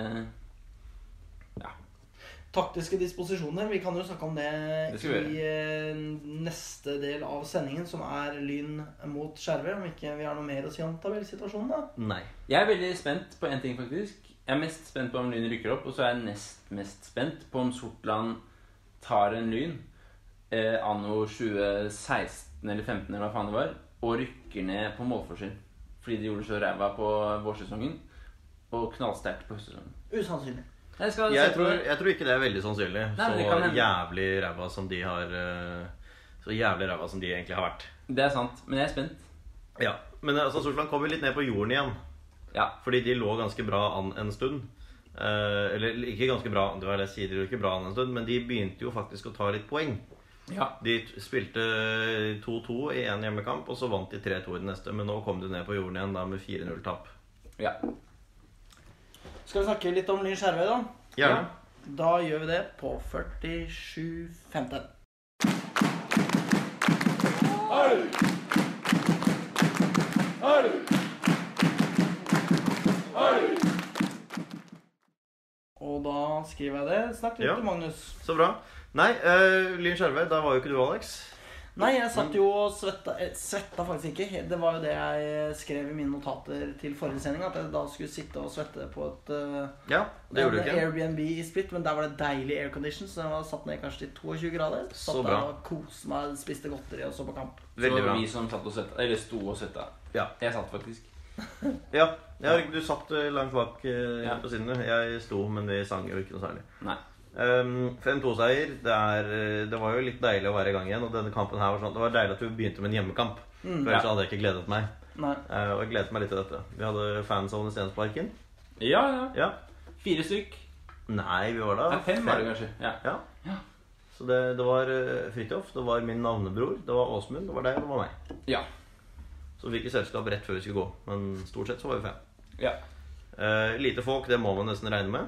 S1: Taktiske disposisjoner. Vi kan jo snakke om det,
S3: Det skal vi
S1: i eh, neste del av sendingen, som er Lyn mot Skjervøy. Om ikke vi har noe mer å si om tabellsituasjonen, da.
S2: Nei.
S3: Jeg er veldig spent på én ting, faktisk. Jeg er mest spent på om Lyn rykker opp, og så er jeg nest mest spent på om Sortland tar en Lyn eh, anno 2016 eller 2015 eller hva faen det var, og rykker ned på målforskjell. Fordi de gjorde så ræva på vårsesongen, og knallsterkt på høstsesongen.
S1: Usannsynlig.
S3: Jeg skal
S2: Jeg
S3: se på
S2: tror,
S3: det.
S2: jeg tror ikke det er veldig sannsynlig.
S3: Nei, men det kan
S2: så
S3: hende.
S2: jævlig ræva som de har eh, Så jævlig ræva som de egentlig har vært.
S3: Det er sant, men jeg er spent.
S2: Ja, Men eh, altså, Sortland kommer litt ned på jorden igjen.
S3: Ja.
S2: Fordi de lå ganske bra an en stund. Eh, eller ikke ganske bra, det var det jeg sier, de lå ikke bra an en stund, men de begynte jo faktisk å ta litt poeng.
S3: ja.
S2: De t- spilte 2-2 i én hjemmekamp, og så vant de 3-2 i den neste. Men nå kom de ned på jorden igjen da med 4-0-tap.
S3: ja.
S1: Skal vi snakke litt om Lyn Skjervøy, da?
S2: Gjerne.
S1: Da gjør vi det på 47.15. Og da skriver jeg det. Snakk litt
S2: Ja.
S1: til Magnus.
S2: Så bra. Nei, eh, Lyn Skjervøy, da var jo ikke du, Alex.
S1: Nei, jeg satt jo og svetta eh, Svetta faktisk ikke. Det var jo det jeg eh, skrev i mine notater til forrige sending. At jeg da skulle sitte og svette på et eh,
S2: Ja, det gjorde du
S1: hadde
S2: ikke.
S1: Airbnb i Split, men der var det deilig aircondition, så den var satt ned kanskje til 22 grader. Satt
S2: Så bra.
S1: der og koste meg, spiste godteri og så på kamp.
S2: Veldig
S3: så
S2: bra.
S3: vi som satt og svetta, eller sto og svetta.
S2: Ja.
S3: Jeg satt faktisk.
S2: Ja, ja du satt eh, langt bak eh,
S3: Ja.
S2: på siden. du. Jeg sto, men vi sang jo ikke noe særlig.
S3: Nei.
S2: Ehm, 5-2-seier. Det, er, eh, det var jo litt deilig å være i gang igjen. Og denne kampen her var sånn Det var deilig at vi begynte med en hjemmekamp. For ellers
S3: Mm. Ja.
S2: hadde jeg ikke gledet meg.
S1: Nei,
S2: Eh, og jeg gledet meg litt til dette. Vi hadde fans av Stensparken.
S3: Ja, ja.
S2: Ja.
S3: Fire stykk.
S2: Nei, vi var da
S3: Nei, fem var det kanskje. Ja.
S2: Ja. Så det, det var eh, Fridtjof, det var min navnebror, det var Åsmund, det var deg, og det var meg.
S3: Ja.
S2: Så vi fikk selskap rett før vi skulle gå. Men stort sett så var vi fem.
S3: ja.
S2: Eh, lite folk, det må man nesten regne med.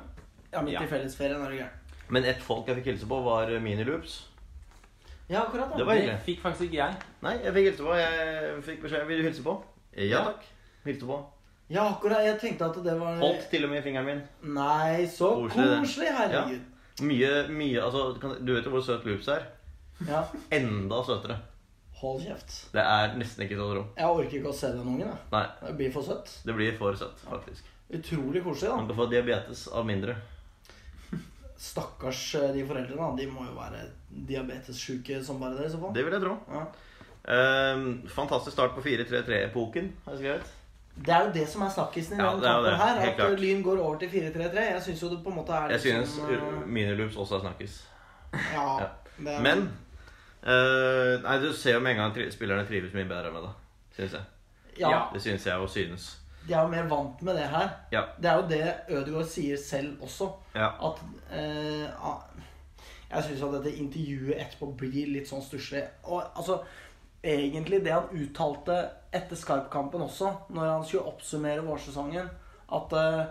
S1: ja, midt
S3: Ja.
S1: i fellesferien er det gærent.
S2: Men ett folk jeg fikk hilse på, var Miniloops.
S1: Ja, akkurat.
S2: Det
S1: da.
S2: var
S3: Det
S2: hyggelig.
S3: fikk faktisk ikke jeg.
S2: Nei, jeg fikk hilse på. Jeg fikk beskjed Vil du hilse på? Ja
S3: Ja.
S2: takk. Hilste på.
S1: Ja, akkurat. Jeg tenkte at det var
S2: Holdt til og med i fingeren min.
S1: Nei, så
S2: Koselig, det.
S1: koselig. Herregud.
S2: Mye, mye Altså, kan- du vet jo hvor søt Loops er.
S1: Ja.
S2: Enda søtere.
S1: Hold kjeft.
S2: Det er nesten ikke til å tro.
S1: Jeg orker ikke å se den ungen. jeg.
S2: Nei,
S1: Det blir for søtt.
S2: det blir for søtt, faktisk.
S1: Utrolig koselig,
S2: Man kan få diabetes av mindre.
S1: da. Stakkars eh, de foreldrene. da. De må jo være diabetessjuke som bare det. i så fall.
S2: Det vil jeg tro.
S1: Ja.
S2: Ehm, fantastisk start på 4-3-3-epoken, har jeg skrevet.
S1: Det er jo det som er snakkisen i
S2: Ja,
S1: denne
S2: det er jo
S1: kampen
S2: det.
S1: her.
S2: Helt
S1: At
S2: klart.
S1: Lyn går over til 4-3-3. Jeg syns jo det på en måte er
S2: Jeg
S1: litt
S2: synes
S1: sånn, eh,
S2: Miniloops også er snakkes.
S1: Ja,
S2: Ja.
S1: det er,
S2: Men eh, Nei, du ser jo med en gang at tri- spillerne trives mye bedre med det, syns jeg.
S1: Ja,
S2: Det syns jeg og synes.
S1: de er jo mer vant med det her.
S2: Ja.
S1: Det er jo det Ødegaard sier selv også.
S2: Ja.
S1: At eh, ah, Jeg syns at dette intervjuet etterpå blir litt sånn stusslig. Og altså Egentlig det han uttalte etter Skype-kampen også, når han skulle oppsummere vårsesongen, at eh,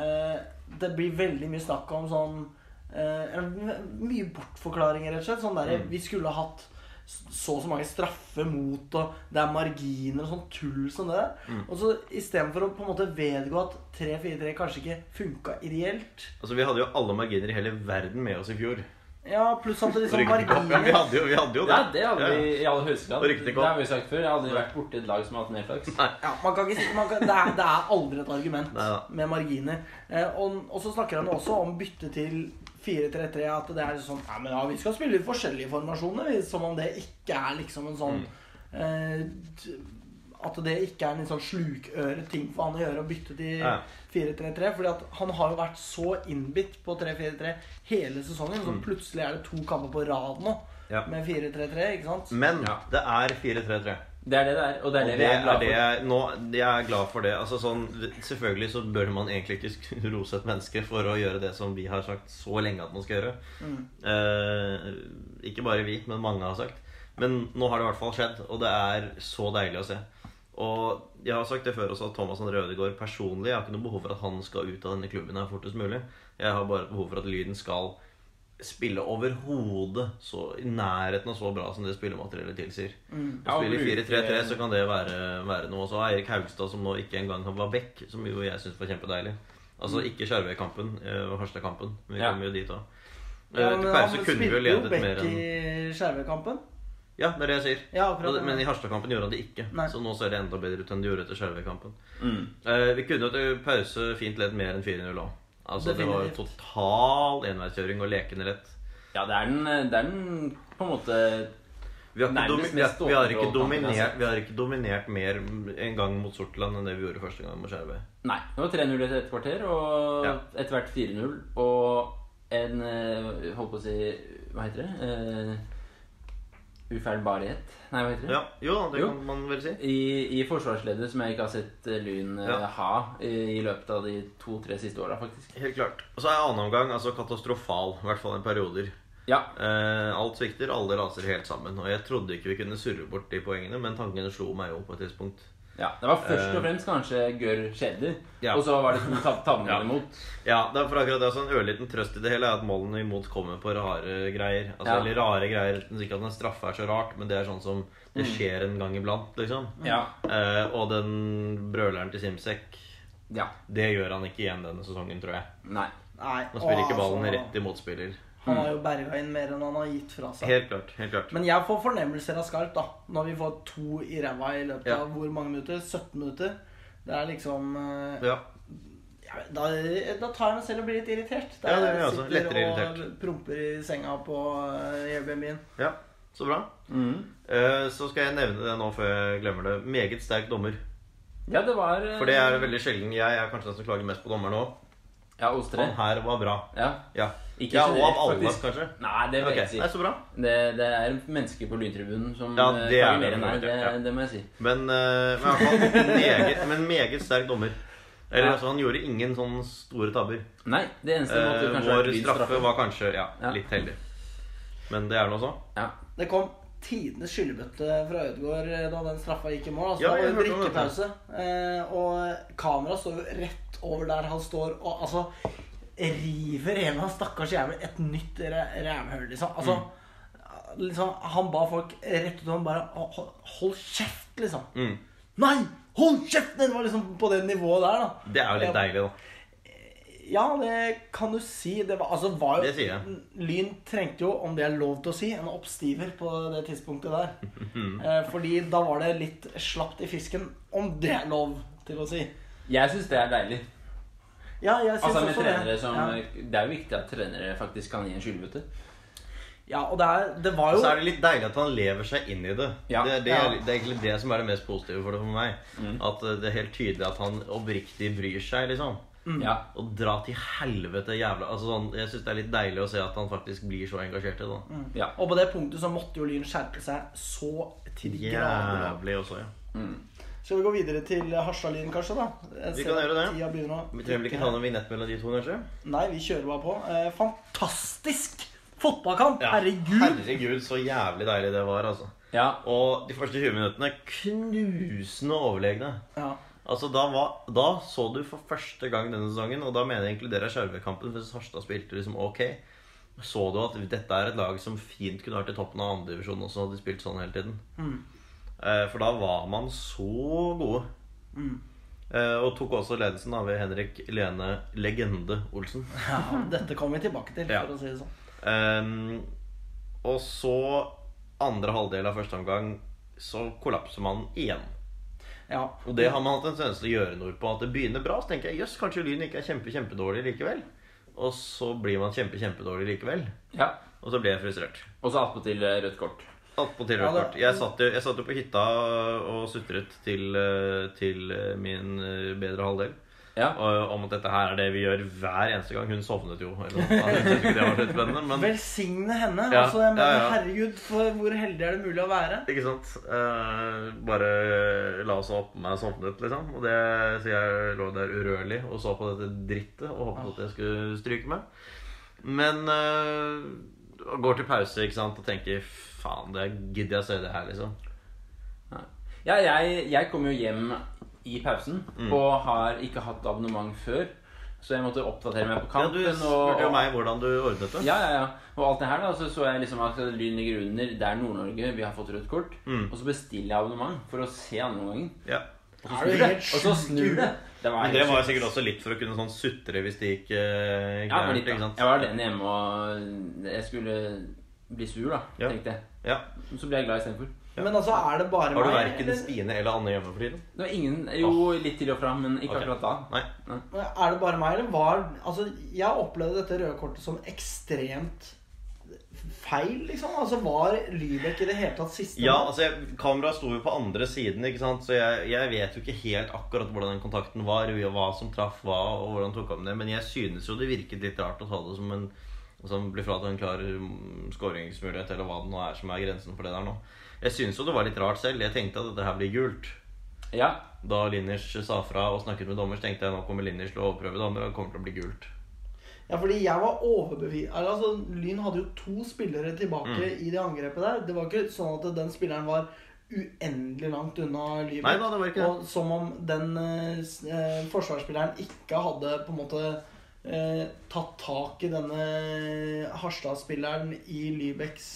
S1: eh, det blir veldig mye snakk om sånn eh, en- Mye bortforklaringer, rett og slett. Sånn
S2: Mm.
S1: derre Vi skulle ha hatt så og så mange straffer mot, og det er marginer og sånn tull som det der.
S2: Mm.
S1: Og så istedenfor å på en måte vedgå at 3-4-3 kanskje ikke funka ideelt
S2: Altså, Vi hadde jo alle marginer i hele verden med oss i fjor.
S1: Ja, pluss at det
S2: Så
S1: liksom
S2: rykket ikke opp, ja, vi
S1: marginer
S2: hadde jo, vi hadde jo det.
S3: Ja, det hadde
S2: Ja.
S3: vi i aller høyeste grad.
S2: Og rykte
S3: Det
S2: ikke opp.
S3: har vi sagt før. Jeg har aldri vært borti et lag som har hatt mer flaks.
S1: ja, man kan ikke, si- man kan, det, er, det er aldri et argument
S2: Neida.
S1: med marginer. Eh, og, og så snakker han jo også om bytte til 4-3-3. At det er sånn Nei, men ja, vi skal spille i forskjellige formasjoner. vi», Som om det ikke er liksom en sånn
S2: Mm.
S1: eh, d- At det ikke er en litt sånn slukøret ting for han å gjøre å bytte til
S2: Ja.
S1: 4-3-3. Fordi at han har jo vært så innbitt på 3-4-3 hele sesongen. Så plutselig er det to kamper på rad nå
S2: Mm. Ja. Mm.
S1: med 4-3-3, ikke sant?
S2: Men
S3: Ja.
S2: det er 4-3-3.
S3: Det er det det er, og det er
S2: Og
S3: det
S2: det
S3: vi er
S2: er
S3: glad
S2: det
S3: for.
S2: jeg, nå, jeg er glad for det. Altså sånn, Selvfølgelig så bør man egentlig ikke sk- rose et menneske for å gjøre det som vi har sagt så lenge at man skal gjøre. Eh, ikke bare vi, men mange har sagt. Men nå har det i hvert fall skjedd, og det er så deilig å se. Og jeg har sagt det før også at Thomas André Ødegaard personlig Jeg har ikke noe behov for at han skal ut av denne klubben her fortest mulig. Jeg har bare behov for at Lyden skal spille overhodet så i nærheten av så bra som det spillemateriellet tilsier.
S1: Mm.
S2: Å
S3: Ja, og
S2: spille
S3: bruke-
S2: 4-3-3 så kan det være, være noe. Og så har Eirik Haugstad, som nå ikke engang var vekk, som jo jeg syns var kjempedeilig.
S1: Mm.
S2: Altså ikke Skjervøy-kampen eh, og Harstad-kampen. men Vi
S3: Ja.
S2: kom jo dit òg.
S1: Ja,
S2: Eh, til
S1: men
S2: pause
S1: han
S2: kunne vi jo
S1: spilte jo
S2: ledet
S1: back
S2: mer enn
S1: i Skjervøy-kampen.
S2: Ja, det er det jeg sier.
S1: Ja, akkurat,
S2: Og det-
S1: ja.
S2: men i Harstad-kampen gjorde han det ikke.
S1: Nei.
S2: Så nå ser det enda bedre ut enn det gjorde etter Skjervøy-kampen. Eh, vi kunne jo til pause fint ledd mer enn 4-0 òg. Altså, det var jo
S1: Definitivt.
S2: total enveiskjøring og lekende lett.
S3: Ja, det er den, det er den på en måte
S2: Vi har, ikke
S3: Nærmest
S2: domi vi, har,
S3: mest
S2: vi, har ikke
S3: overall kampen jeg har
S2: dominert,
S3: sett.
S2: vi har ikke dominert mer en gang mot Sortland enn det vi gjorde første gang mot Skjervøy.
S3: Nei. Det var 3-0 etter et kvarter, og
S2: Ja.
S3: etter hvert 4-0. Og en eh, Holdt på å si Hva heter det? Eh, ufeilbarlighet? Nei, hva heter det?
S2: Ja, jo, det
S3: Jo.
S2: kan man vel si.
S3: I, I forsvarsleddet, som jeg ikke har sett eh, Lyn eh,
S2: Ja.
S3: ha i, i løpet av de to-tre siste åra, faktisk.
S2: Helt klart. Og så er annen omgang altså katastrofal, i hvert fall i perioder.
S3: Ja.
S2: Eh, alt svikter, alle raser helt sammen. Og jeg trodde ikke vi kunne surre bort de poengene, men tankene slo meg jo på et tidspunkt.
S3: ja. Det var
S2: Eh.
S3: først og fremst kanskje Gørr Skjæder,
S2: Ja.
S3: og så var det som tav tavnen
S2: Ja. Mm.
S3: imot.
S2: Ja, det er for akkurat det altså, En ørliten trøst i det hele er at målene imot kommer på rare greier. Altså,
S3: Ja.
S2: Eller rare greier. Ikke at en straffe er så rart, men det er sånn som det
S3: Mm.
S2: skjer en gang iblant. liksom
S3: Ja.
S2: eh, Og den brøleren til Simsek
S3: ja.
S2: Det gjør han ikke igjen denne sesongen, tror jeg.
S3: Nei.
S1: Nei,
S2: Han spiller ikke
S1: og altså,
S2: ballen rett i motspiller.
S1: Han har jo berga inn mer enn han har gitt fra seg.
S2: Helt klart. helt klart
S1: Men jeg får fornemmelser av Skarp da når vi får to i ræva i løpet
S2: Ja.
S1: av hvor mange minutter? 17 minutter. Det er liksom eh,
S2: Ja,
S1: ja, da, da tar jeg meg selv og blir litt irritert. Da
S2: Ja, det gjør jeg
S1: jeg
S2: også.
S1: sitter
S2: Lettere
S1: og
S2: irritert.
S1: promper i senga på eh, Airbnb-en.
S2: ja. Så bra. Eh, Så skal jeg nevne det nå før jeg glemmer det. Meget sterk dommer.
S3: Ja, det var eh,
S2: For det er veldig sjelden. Jeg er kanskje den som klager mest på dommeren nå.
S3: Ja, oss tre.
S2: Han her var bra.
S3: Ja.
S2: Ja,
S3: Ikke
S2: ja og
S3: generelt,
S2: av alle,
S3: faktisk.
S2: kanskje.
S3: Nei, det vil
S2: Ok,
S3: jeg
S2: Nei,
S3: ikke si.
S2: så bra.
S3: Det, det er mennesker på lyntribunen som
S2: Ja,
S3: eh,
S2: det er det,
S3: klager mer enn meg.
S2: det
S3: Det,
S2: er det, ja.
S3: det må jeg si.
S2: Men, eh, men i hvert fall meget, men meget sterk dommer. Eller, altså, han gjorde ingen sånne store tabber.
S3: Nei, det eneste måtte
S2: Eh,
S3: kanskje
S2: vår
S3: vært Lyns
S2: straffe var kanskje ja,
S3: Ja.
S2: litt heldig. Men det er nå så.
S3: Ja.
S1: Det kom tidenes skyllebøtte fra Ødegaard eh, da den straffa gikk i mål. Altså,
S2: Ja,
S1: det var
S2: jeg
S1: jo
S2: hørte om
S1: drikkepause. Eh, og kameraet står jo rett over der han står og altså river en av stakkars jævler et nytt ræ- rævhull, liksom. Altså,
S2: Mm.
S1: liksom. Han ba folk rett ut og han bare "Ho- ho- Hold kjeft, liksom.
S2: Mm.
S1: Nei! Hold kjeft! Det var liksom på det nivået der, da.
S2: Det er jo litt
S1: Ja.
S2: deilig, da.
S1: Ja, det kan du si. Det var, altså, var jo,
S2: Det sier jeg.
S1: Lyn trengte jo, om det er lov til å si, en oppstiver på det tidspunktet der. eh, fordi da var det litt slapt i fisken, om det er lov til å si.
S3: Jeg syns det er deilig.
S1: Ja, jeg synes
S3: Altså med
S1: også
S2: sånn
S3: trenere
S1: det.
S3: som
S1: ja.
S3: Det er jo viktig at trenere faktisk kan gi en skyldbøtte.
S1: ja, og det, er, det var
S2: Og
S1: jo
S2: så er det litt deilig at han lever seg inn i det.
S3: Ja.
S2: Det, det, er,
S1: Ja.
S2: det er egentlig det som er det mest positive for det for meg. At eh, det er helt tydelig at han oppriktig bryr seg, liksom.
S3: Ja.
S2: Og dra til helvete jævla Altså sånn, Jeg syns det er litt deilig å se at han faktisk blir så engasjert i det. da.
S3: ja.
S1: Og på det punktet så måtte jo Lyn skjerpe seg så til de grader. da.
S2: Jævlig også, ja.
S1: Skal vi gå videre til Harstadlyn, kanskje? da? Jeg
S2: Vi
S1: ser
S2: kan
S1: at
S2: gjøre det.
S1: tida begynner å
S2: Vi trenger vel ikke ta noen vignett mellom de to, kanskje?
S1: Nei, vi kjører bare på. Eh, fantastisk fotballkamp!
S2: Ja.
S1: Herregud!
S2: Herregud, så jævlig deilig det var, altså.
S3: Ja.
S2: Og de første 20 minuttene knusende overlegne.
S1: Ja.
S2: Altså, da, var, da så du for første gang denne sesongen, og da mener jeg inkludere Skjervøy-kampen, for Harstad spilte liksom ok. Så du at dette er et lag som fint kunne vært i toppen av andredivisjon også, hadde de spilt sånn hele tiden. Eh, For da var man så gode. Eh, Og tok også ledelsen av ved Henrik Lene Legende Olsen.
S1: ja, Dette kommer vi tilbake til,
S2: Ja.
S1: for å si det sånn.
S2: Ehm, og så andre halvdel av første omgang så kollapser man igjen.
S1: Ja.
S2: Og det har man hatt en tendens til å gjøre noe på. At det begynner bra, så tenker jeg jøss, kanskje Lyn ikke er kjempe, kjempedårlig likevel. Og så blir man kjempe, kjempedårlig likevel.
S3: ja.
S2: Og så blir jeg frustrert.
S3: Og så attpåtil eh, rødt kort.
S2: Attpåtil
S1: Ja,
S2: rødt
S1: det-
S2: kort. Jeg satt jo- Jeg satt jo på hytta og sutret til, eh, til eh, min eh, bedre halvdel.
S3: Ja.
S2: Og, om at dette her er det vi gjør hver eneste gang. Hun sovnet jo. Eller, noe. Altså, jeg synes ikke det var så spennende, men
S1: Velsigne henne.
S2: Ja,
S1: altså, jeg mener,
S2: ja, ja.
S1: Herregud, for hvor heldig er det mulig å være?
S2: Ikke sant? Eh, bare la oss opp med meg sovnet, liksom. Og det, så jeg lå der urørlig og så på dette drittet og håpet at jeg skulle stryke meg. Men eh, og går til pause ikke sant? og tenker faen, det gidder jeg å se det her, liksom.
S3: Ja, jeg, jeg kom jo hjem i pausen
S2: Mm.
S3: og har ikke hatt abonnement før. Så jeg måtte oppdatere meg på
S2: Ja,
S3: kampen.
S2: du
S3: og,
S2: spurte jo meg hvordan du ordnet det.
S3: Ja, ja, ja. Og alt det her, da, så så jeg liksom at Lyn ligger under. Det er Nord-Norge, vi har fått rødt kort.
S2: Mm.
S3: Og så bestiller jeg abonnement for å se andre omgang.
S2: Ja.
S1: Er du helt
S3: Og så
S1: sjuk i
S3: snur det.
S1: huet?
S3: Det var,
S2: Men det
S3: helt
S2: var jo
S3: sjukt.
S2: sikkert også litt for å kunne sånn sutre hvis det gikk eh,
S3: ja, det var
S2: gærent.
S3: litt,
S2: ikke
S3: da.
S2: sant?
S3: Jeg var alene hjemme, og jeg skulle bli sur, da,
S2: Ja.
S3: tenkte jeg.
S2: Ja.
S3: Men Så ble jeg glad istedenfor.
S1: Men altså, er det bare
S2: Har du
S1: meg?
S2: verken
S1: eller-
S2: Stine eller Anne hjemme for tiden?
S3: Det var ingen Jo, litt til og fra, men ikke
S2: Ok.
S3: akkurat da.
S2: Nei.
S1: Er det bare meg, eller var Altså, jeg opplevde dette røde kortet som ekstremt feil, liksom. Altså, var Lybekk i det hele tatt siste
S2: Ja, altså jeg, Kameraet sto jo på andre siden, ikke sant? så jeg, jeg vet jo ikke helt akkurat hvordan den kontakten var, og hva som traff hva, og hvordan tok om det, men jeg synes jo det virket litt rart å ta det som en som blir fratatt en klar mm, skåringsmulighet, eller hva det nå er som er grensen for det der nå. Jeg synes jo det var litt rart selv. Jeg tenkte at dette her blir gult.
S3: Ja.
S2: Da Linners sa fra og snakket med dommer, så tenkte jeg nå kommer Linners til å overprøve dommer, og det kommer til å bli gult.
S1: Ja, fordi jeg var overbevist Altså, Lyn hadde jo to spillere tilbake
S2: Mm.
S1: i det angrepet der. Det var ikke sånn at den spilleren var uendelig langt unna Lybekk.
S2: Nei da, det var ikke det.
S1: Og som om den eh, s- eh, forsvarsspilleren ikke hadde på en måte eh, tatt tak i denne Harstad-spilleren i Lybekks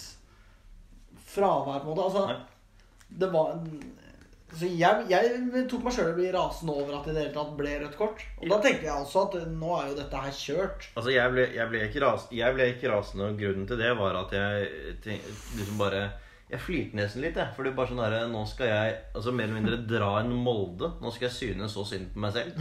S1: fravær, på en måte. Altså,
S2: Nei.
S1: det var så jeg, jeg tok meg sjøl i å bli rasende over at det i det hele tatt ble rødt kort. Og da tenkte jeg også at nå er jo dette her kjørt.
S2: Altså, jeg ble, jeg, ble ikke ras, jeg ble ikke rasende, og grunnen til det var at jeg tenk, liksom bare Jeg flirte nesten litt, jeg. For det er bare sånn derre Nå skal jeg altså mer eller mindre dra en Molde. Nå skal jeg synes så synd på meg selv.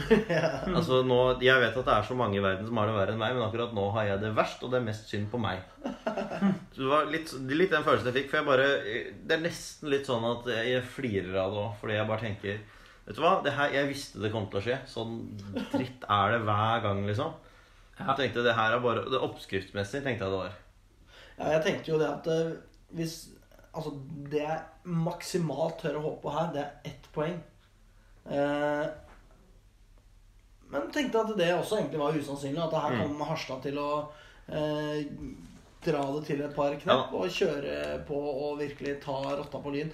S2: Altså, nå, Jeg vet at det er så mange i verden som har det verre enn meg, men akkurat nå har jeg det verst, og det er mest synd på meg. Så det var litt, litt den følelsen jeg fikk. For jeg bare Det er nesten litt sånn at jeg, jeg flirer av det òg, fordi jeg bare tenker Vet du hva? Det her, jeg visste det kom til å skje. Sånn dritt er det hver gang, liksom.
S3: Ja.
S2: Jeg tenkte det her er bare det er Oppskriftsmessig tenkte jeg det var.
S1: Ja, jeg tenkte jo det at eh, hvis Altså, det jeg maksimalt tør å håpe på her, det er ett poeng. Eh, men tenkte at det også egentlig var usannsynlig. At det her kom Harstad til å eh, dra det til et par knepp og kjøre på og virkelig ta rotta på Lyn.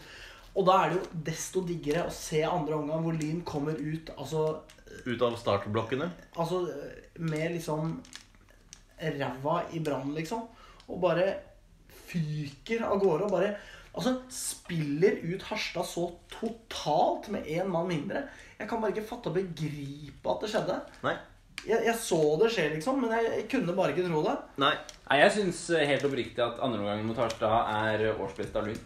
S1: Og da er det jo desto diggere å se andre omgang hvor Lyn kommer ut altså,
S2: Ut av startblokkene.
S1: altså med liksom ræva i brann, liksom. Og bare fyker av gårde og bare Altså, spiller ut Harstad så totalt med én mann mindre. Jeg kan bare ikke fatte og begripe at det skjedde.
S2: Nei.
S1: Jeg, jeg så det skje, liksom, men jeg, jeg kunne bare ikke tro det.
S2: Nei.
S3: Nei, jeg syns eh, helt oppriktig at andreomgangen mot Harstad er eh, årsbest av Lyn.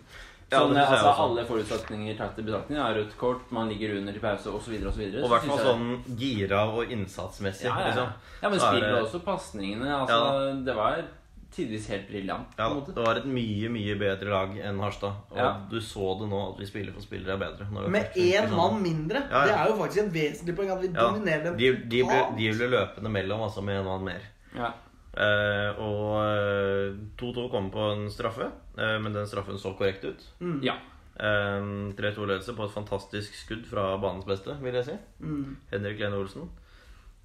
S2: Ja, det
S3: Sånn,
S2: synes jeg
S3: altså,
S2: også.
S3: alle forutsetninger tatt i betraktning. Ja, rødt kort, man ligger under til pause osv. osv.
S2: Og i hvert fall sånn gira og innsatsmessig.
S3: Ja, ja, ja.
S2: Liksom.
S3: ja, men
S2: Så er
S3: spillet
S2: det-
S3: også, pasningene. Altså,
S2: Ja.
S3: Det var tidvis helt briljant. på
S2: Ja,
S3: en
S2: da,
S3: måte.
S2: det var et mye, mye bedre lag enn Harstad. Og
S3: Ja.
S2: du så det nå, at vi spiller for spillere er bedre. Nå har vi
S1: Med
S2: faktisk ikke
S1: én
S2: sånn-
S1: mann mindre.
S2: Ja, ja.
S1: Det er jo faktisk et vesentlig poeng at vi
S2: Ja,
S1: dominerer dem.
S2: de, de, ble,
S1: totalt.
S2: de ble løpende mellom, altså, med en mann mer.
S3: Ja.
S2: Eh, og eh, 2-2 kom på en straffe, eh, men den straffen så korrekt ut.
S3: ja.
S2: Eh, Ehm, 3-2-ledelse på et fantastisk skudd fra banens beste, vil jeg si.
S1: Mm.
S2: Henrik Lene Olsen.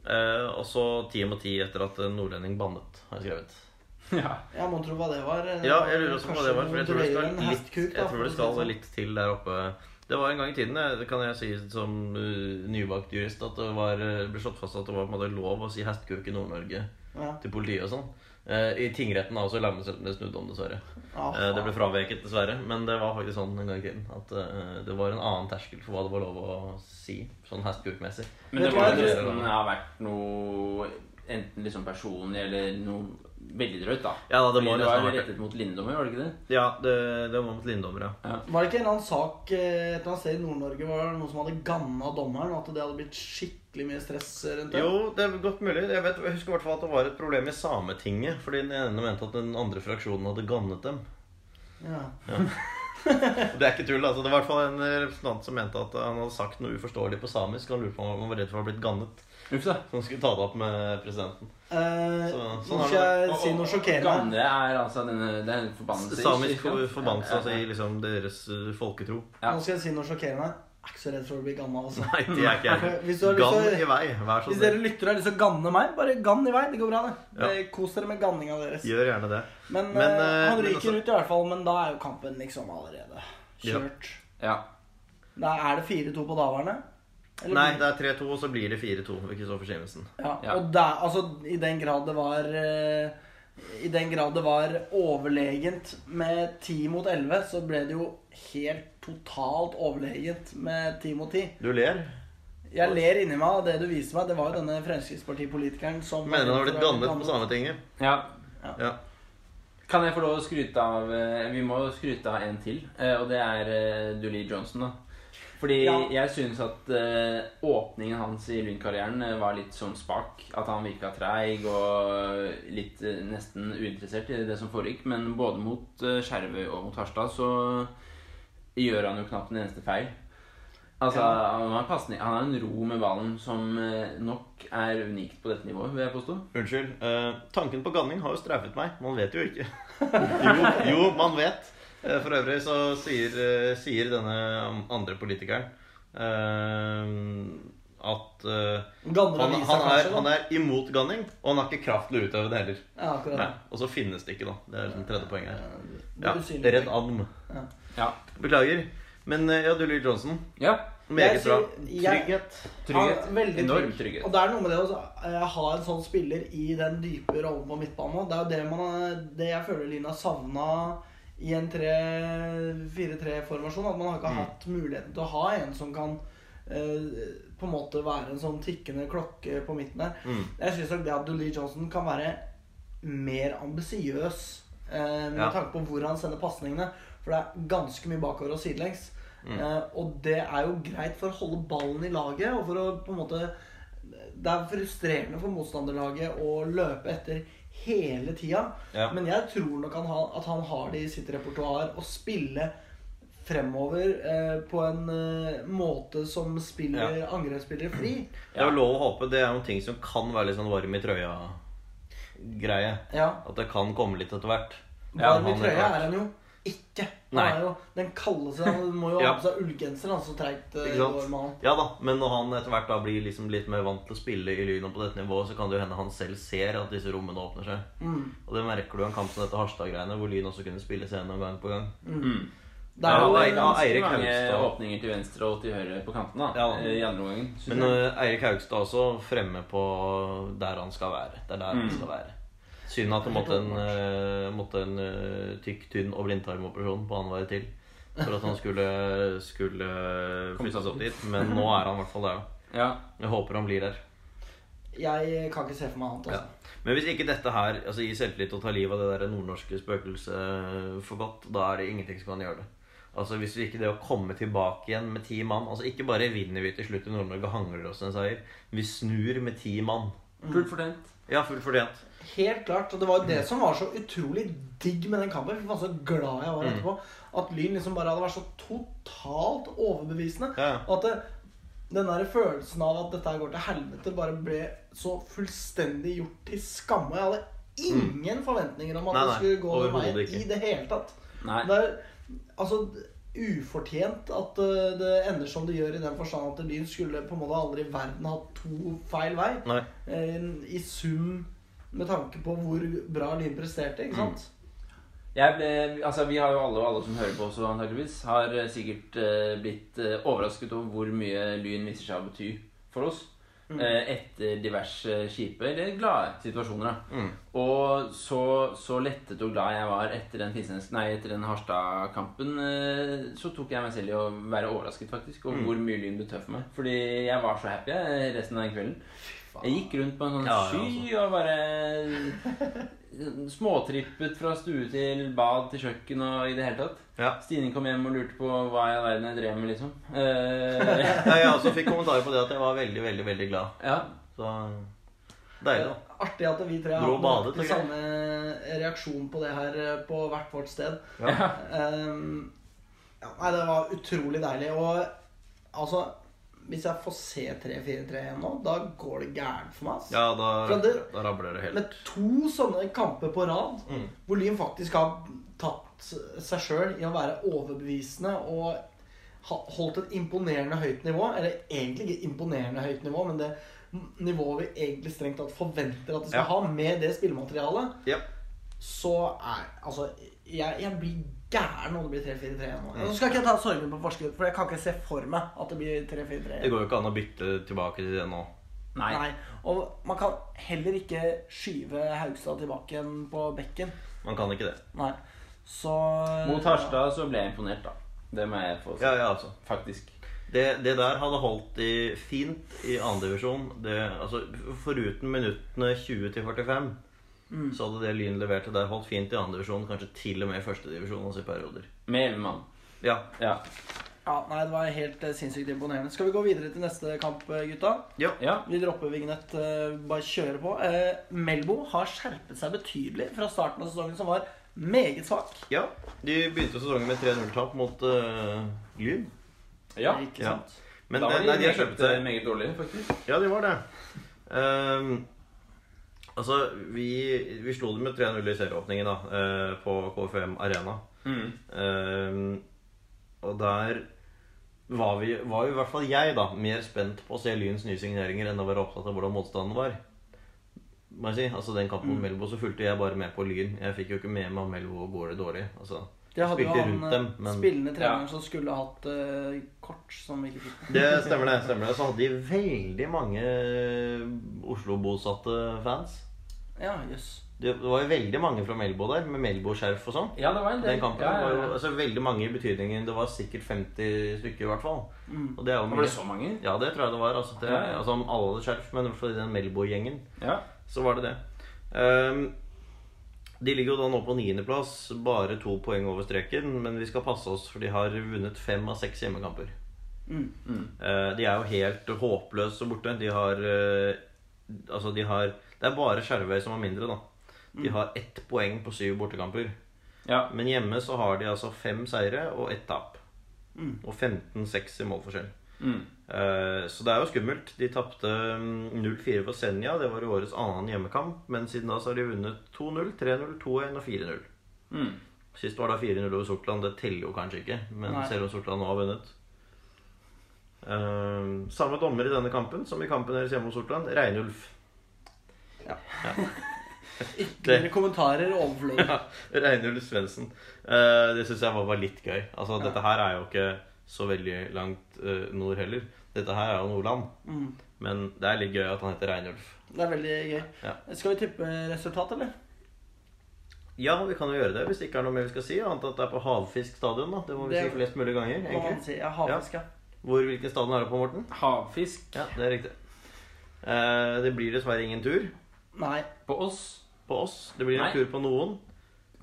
S2: Eh, og så 10 mot 10 etter at en nordlending bannet, har jeg skrevet.
S3: Ja.
S1: Ja, mon tro hva det var. eh,
S2: Ja, jeg lurer også på hva det var. For jeg tror det
S1: Kanskje
S2: skal
S1: en
S2: litt,
S1: hestkuk, da,
S2: jeg
S1: for å
S2: tror det
S1: si
S2: skal
S1: sånn.
S2: litt til der oppe. Det var en gang i tiden, eh, det kan jeg si som eh, nybakt jurist, at det var, eh, ble slått fast at det var på en måte lov å si hestkuk i Nord-Norge
S1: Ja.
S2: til politiet og sånn. Eh, I tingretten har også lagmannsretten det snudd om, dessverre.
S1: Ja,
S2: Eh, det
S1: faen.
S2: ble fraveket, dessverre. Men det var faktisk sånn en gang i tiden at eh, det var en annen terskel for hva det var lov å si, sånn hestkuk-messig.
S3: Men det
S1: Vet du
S3: må
S1: hva
S3: jo
S1: jeg
S2: tror?
S3: nesten ha vært noe Enten liksom personlig eller noe veldig drøyt, da.
S2: Ja, da, det må
S3: Fordi
S2: nesten ha vært
S3: var
S2: det.
S3: rettet mot Lindome, var det ikke det?
S2: Ja, det, det var mot Linddommer, ja.
S1: Var det ikke en eller annen sak eh, et eller annet sted i Nord-Norge var det noen som hadde ganna dommeren, og at det hadde blitt skikkelig mye stress rundt det?
S2: Jo, det er godt mulig. Jeg, vet, jeg husker i hvert fall at det var et problem i Sametinget. Fordi den ene mente at den andre fraksjonen hadde gannet dem.
S1: Ja.
S2: Det er ikke tull, altså. Det var i hvert fall en representant som mente at han hadde sagt noe uforståelig på samisk. Han lurte på om han var redd for å ha blitt gannet.
S3: Uff da.
S2: Så han skulle ta det opp med presidenten.
S1: Eh,
S2: Så-
S1: nå
S2: sånn er
S1: skal
S2: det.
S1: jeg si noe sjokkerende.
S3: Ganne er altså denne Det er en forbannelse.
S2: Samisk
S3: ikke sant?
S2: for- forbannelse,
S3: Ja,
S2: altså
S3: ja,
S2: i
S3: ja.
S2: liksom deres eh, folketro.
S3: Ja.
S1: Nå skal jeg si noe sjokkerende. Jeg er ikke så redd for å bli ganna, altså.
S2: Nei, det er ikke jeg.
S1: Hvis du har lyst til å-
S2: Gann i vei. Vær så
S1: Hvis dere
S2: snill.
S1: lytter og har lyst til å ganne meg, bare gann i vei. Det går bra, det.
S2: Ja.
S1: det Kos dere med ganninga deres.
S2: Gjør gjerne det.
S1: Men,
S2: Men,
S1: eh,
S2: eh,
S1: han
S2: men
S1: ryker
S2: altså-
S1: ut i hvert fall, men da er jo kampen liksom allerede
S2: Ja.
S1: kjørt.
S3: ja.
S1: Da er det 4-2 på daværende. Eller-
S2: Nei, det er 3-2, og så blir det 4-2 for Kristoffer Simensen.
S1: Ja,
S3: Ja.
S1: og der, altså, i den grad det var eh, I den grad det var overlegent med 10 mot 11, så ble det jo helt totalt overlegent med 10 mot 10.
S2: Du ler.
S1: Jeg ler inni meg av det du viser meg. Det var jo denne Fremskrittspartipolitikeren som
S2: Mener han har blitt gannet på Sametinget.
S3: ja.
S2: Ja.
S3: Kan jeg få lov å skryte av eh, Vi må jo skryte av en til, eh, og det er eh, Dulee Johnson, da. Fordi
S1: Ja.
S3: jeg syns at eh, åpningen hans i Lund-karrieren eh, var litt sånn spak. At han virka treig og litt eh, nesten uinteressert i det som foregikk. Men både mot eh, Skjervøy og mot Harstad så gjør han jo knapt en eneste feil. Altså, han, har pasning, han har en ro med ballen som eh, nok er unikt på dette nivået, vil jeg påstå.
S2: Unnskyld. eh, tanken på ganning har jo straffet meg. Man vet jo ikke. jo, jo, man vet. Eh, for øvrig så sier, eh, sier denne andre politikeren eh, at eh,
S1: Ganner
S2: han,
S1: aviser,
S2: han, er,
S1: kanskje, da.
S2: han er imot ganning, og han har ikke kraft til å utøve det heller.
S1: Ja, akkurat.
S2: Nei, og så finnes det ikke, da. Det er liksom tredje poenget her.
S1: Det
S2: Ja,
S1: er usynlig.
S2: Redd Adm.
S3: Ja.
S2: Beklager. Men eh, ja, Dulie Johnson.
S3: ja.
S2: Meget
S1: Jeg
S2: bra.
S1: sier- jeg-
S2: Trygghet.
S3: Trygghet.
S1: Ja, veldig
S3: Enorm
S1: trygg.
S3: trygghet.
S1: Og det er noe med det å eh, ha en sånn spiller i den dype rollen på midtbanen. Det er jo det, man, har- det jeg føler Lina savna i en 4-3-formasjon. At man har ikke
S3: Mm.
S1: hatt muligheten til å ha en som kan eh, på en måte være en sånn tikkende klokke på midten der.
S3: Mm.
S1: Jeg syns nok det at Dooley Johnson kan være mer ambisiøs eh, med
S2: Ja.
S1: tanke på hvor han sender pasningene. For det er ganske mye bakover og sidelengs.
S2: Mm.
S1: Eh, og det er jo greit for å holde ballen i laget. Og for å på en måte Det er frustrerende for motstanderlaget å løpe etter hele tida.
S2: Ja.
S1: Men jeg tror nok han har, at han har det i sitt repertoar å spille fremover eh, på en eh, måte som spiller angrepsspillere fri.
S2: Det er jo lov å håpe. Det er noen ting som kan være litt sånn varm i trøya-greie.
S1: Ja.
S2: At det kan komme litt etter hvert.
S1: Varm i
S2: han-
S1: trøya er han jo ikke. Han
S2: Nei.
S1: er jo den kaldeste Han må jo
S2: Ja.
S1: ha på seg ullgenser, han, så treigt eh,
S2: Ikke
S1: går med han.
S2: sant? Ja da, Men når han etter hvert da blir liksom litt mer vant til å spille i Lyn og på dette nivået, så kan det jo hende han selv ser at disse rommene åpner seg. Og det merker du i en kamp som dette Harstad-greiene, hvor Lyn også kunne spille scenen gang på gang.
S1: Det er
S2: Ja,
S1: jo
S2: det er
S1: en,
S2: ikke-
S3: Ganske
S2: Eirik
S3: mange
S2: Haugstad.
S3: åpninger til venstre og til høyre på kanten da,
S2: Ja.
S3: eh, i andre omgangen. synes
S2: Men
S3: jeg.
S2: eh, Eirik Haugstad også fremme på der han skal være. Det er der han skal være. Synd at det måtte en, eh, måtte en eh, tykk, tynn og blindtarmoperasjon på annenhver til for at han skulle, skulle flyttes opp dit. Men nå er han i hvert fall der, da.
S3: ja.
S2: Jeg håper han blir der.
S1: jeg kan ikke se for meg annet.
S2: Ja.
S1: Altså.
S2: Men hvis ikke dette her altså, gir selvtillit og tar livet av det der nordnorske spøkelset for godt, da er det ingenting som kan gjøre det. Altså Hvis vi ikke det å komme tilbake igjen med ti mann altså Ikke bare vinner vi til slutt i Nord-Norge og hangler oss en seier. Vi snur med ti mann.
S3: Fullt fortjent.
S2: Ja, fullt fortjent.
S1: Helt klart. Og det var jo det som var så utrolig digg med den kampen. Fy faen, så glad jeg
S2: Mm.
S1: var etterpå. At Lyn liksom bare hadde vært så totalt overbevisende.
S2: Ja, ja.
S1: Og at det, den der følelsen av at dette her går til helvete, bare ble så fullstendig gjort til skamme. Jeg hadde ingen forventninger om at
S2: Mm. Nei,
S1: det
S2: nei,
S1: skulle gå den
S2: overhodet
S1: veien
S2: ikke.
S1: i det hele tatt.
S3: Nei.
S1: Det er, altså ufortjent at eh, det ender som det gjør, i den forstand at Lyn skulle på en måte aldri i verden hatt to feil vei.
S2: Nei.
S1: Eh, I sum med tanke på hvor bra Lyn presterte, ikke sant?
S2: Mm.
S3: Jeg ble, altså Vi har jo alle, og alle som hører på også, antageligvis, har eh, sikkert eh, blitt eh, overrasket over hvor mye lyn viser seg å bety for oss. eh, etter diverse kjipe eller glade situasjoner. da. Og så, så lettet og glad jeg var etter den, Finnsnes- nei, etter den Harstad-kampen, eh, så tok jeg meg selv i å være overrasket faktisk over hvor mye lyn betød for meg. Fordi jeg var så happy jeg, resten av den kvelden. Jeg gikk rundt på en sånn
S2: Ja, altså. ja,
S3: sky og bare eh, Småtrippet fra stue til bad til kjøkken og i det hele tatt.
S2: Ja.
S3: Stine kom hjem og lurte på hva i all verden jeg drev med, liksom. Eh,
S2: Ja, jeg også fikk kommentarer på det at jeg var veldig, veldig veldig glad.
S3: ja.
S2: Så deilig, da.
S1: Artig at vi tre har
S2: Dro
S1: hatt
S2: og badet,
S1: nøyaktig
S2: tenker
S1: samme reaksjon på det her eh, på hvert vårt sted.
S2: Ja.
S1: Ehm, ja, nei, det var utrolig deilig. Og altså Hvis jeg får se 3-4-3 igjen nå, da går det gærent for meg. ass.
S2: Ja, da,
S1: For det-
S2: da rabler det helt.
S1: Med to sånne kamper på rad
S2: Mm.
S1: hvor Lyn faktisk har tatt seg sjøl i å være overbevisende og ha- holdt et imponerende høyt nivå. Eller egentlig ikke imponerende høyt nivå, men det n- nivået vi egentlig strengt tatt forventer at de skal
S2: Ja.
S1: ha med det spillematerialet,
S2: Ja.
S1: så er Altså, jeg, jeg blir gæren om det blir 3-4-3 nå.
S2: Mm.
S1: Nå skal ikke jeg ta sorgen på forskudd, for jeg kan ikke se for meg at det blir 3-4-3.
S2: Det går jo ikke an å bytte tilbake til det nå.
S3: Nei.
S1: Nei. Og man kan heller ikke skyve Haugstad tilbake igjen på bekken.
S2: Man kan ikke det.
S1: Nei. Så eh,
S3: Mot Harstad så ble jeg imponert, da. Det må jeg få si.
S2: Ja, ja, altså.
S3: Faktisk.
S2: Det, det der hadde holdt i fint i andredivisjon. Altså, foruten minuttene 20 til 45, så hadde det Lyn leverte der holdt fint i andredivisjon, kanskje til og med i førstedivisjon altså i perioder.
S3: Med elleve mann.
S2: Ja.
S3: Ja.
S1: Ja, nei, det var helt eh, sinnssykt imponerende. Skal vi gå videre til neste kamp, eh, gutta?
S3: ja.
S1: Vi dropper Vignett, eh, bare kjører på. Eh, Melbo har skjerpet seg betydelig fra starten av sesongen, som var meget svak.
S2: ja. De begynte sesongen med 3-0-tap mot eh, Lyn.
S3: ja.
S1: Ikke
S2: Ja.
S1: sant?
S2: Men
S3: Da var
S2: eh,
S3: de,
S2: nei, de har
S3: meget,
S2: kjøpt seg
S3: meget dårlige, faktisk.
S2: Ja, de var det. Ehm, altså, vi, vi slo dem med 3-0 i serieåpningen da, eh, på KFM Arena.
S1: Mm.
S2: Ehm, og der var, vi, var jo i hvert fall jeg da, mer spent på å se Lyns nye signeringer enn å være opptatt av hvordan motstanden var. Må jeg si, altså Den kampen
S1: Mm.
S2: mot Melbo så fulgte jeg bare med på Lyn. Jeg fikk jo ikke med meg om Melbo går det dårlig. Altså,
S1: Det hadde jo
S2: spilte
S1: han
S2: rundt
S1: eh,
S2: dem, men-
S1: spillende treneren
S3: Ja.
S1: som skulle hatt eh, kort, som vi ikke fikk.
S2: Det stemmer, det. stemmer det Så hadde de veldig mange Oslo-bosatte fans.
S1: Ja, jøss.
S2: Det det var jo veldig mange fra Melbo der, med Melbo-skjerf og sånn.
S3: Ja, det var en del.
S2: Den kampen
S3: ja, ja,
S2: var jo
S3: ja.
S2: altså, veldig mange i betydningen Det var sikkert 50 stykker i hvert fall. Og det er jo
S3: Mm. Var det så mange?
S2: Ja, det tror jeg det var. Altså, det,
S3: Ja, ja.
S2: altså om alle hadde skjerf, men i hvert fall i den Melbo-gjengen,
S3: Ja.
S2: så var det det. Ehm, de ligger jo da nå på niendeplass, bare to poeng over streken. Men vi skal passe oss, for de har vunnet fem av seks hjemmekamper.
S3: Mm,
S2: Eh, de er jo helt håpløse borte. De har eh, Altså, de har Det er bare Skjervøy som har mindre, da. De har ett poeng på syv bortekamper.
S3: ja.
S2: Men hjemme så har de altså fem seire og ett tap. Og 15-6 i målforskjell. Eh, Så det er jo skummelt. De tapte mm, 0-4 for Senja. Det var i årets annen hjemmekamp. Men siden da så har de vunnet 2-0, 3-0, 2-1 og 4-0. Sist var da 4-0 over Sortland. Det teller jo kanskje ikke, men
S1: Nei.
S2: selv om Sortland nå har vunnet. Eh, samme dommer i denne kampen som i kampen deres hjemme hos Sortland. Reinulf.
S1: Ytterligere kommentarer overflødig.
S2: Ja, Reinulf Svendsen. Eh, det syns jeg var, var litt gøy. Altså, Dette her er jo ikke så veldig langt eh, nord heller. Dette her er jo Nordland. Men det er litt gøy at han heter Reinulf.
S1: Det er veldig gøy.
S2: Ja.
S1: Skal vi tippe resultat, eller?
S2: Ja, vi kan jo gjøre det hvis det ikke er noe mer vi skal si. Annet at det er på Havfisk stadion. da Det må vi
S1: Det-
S2: si flest mulig ganger.
S1: Hva man
S2: egentlig
S1: sier. Ja, havfisk, ja.
S2: Hvor, Hvilken stadion er det på, Morten?
S3: Havfisk
S2: Ja, Det er riktig. Eh, det blir dessverre ingen tur
S1: Nei.
S3: på oss.
S2: på oss. Det blir en
S3: Nei.
S2: tur på noen.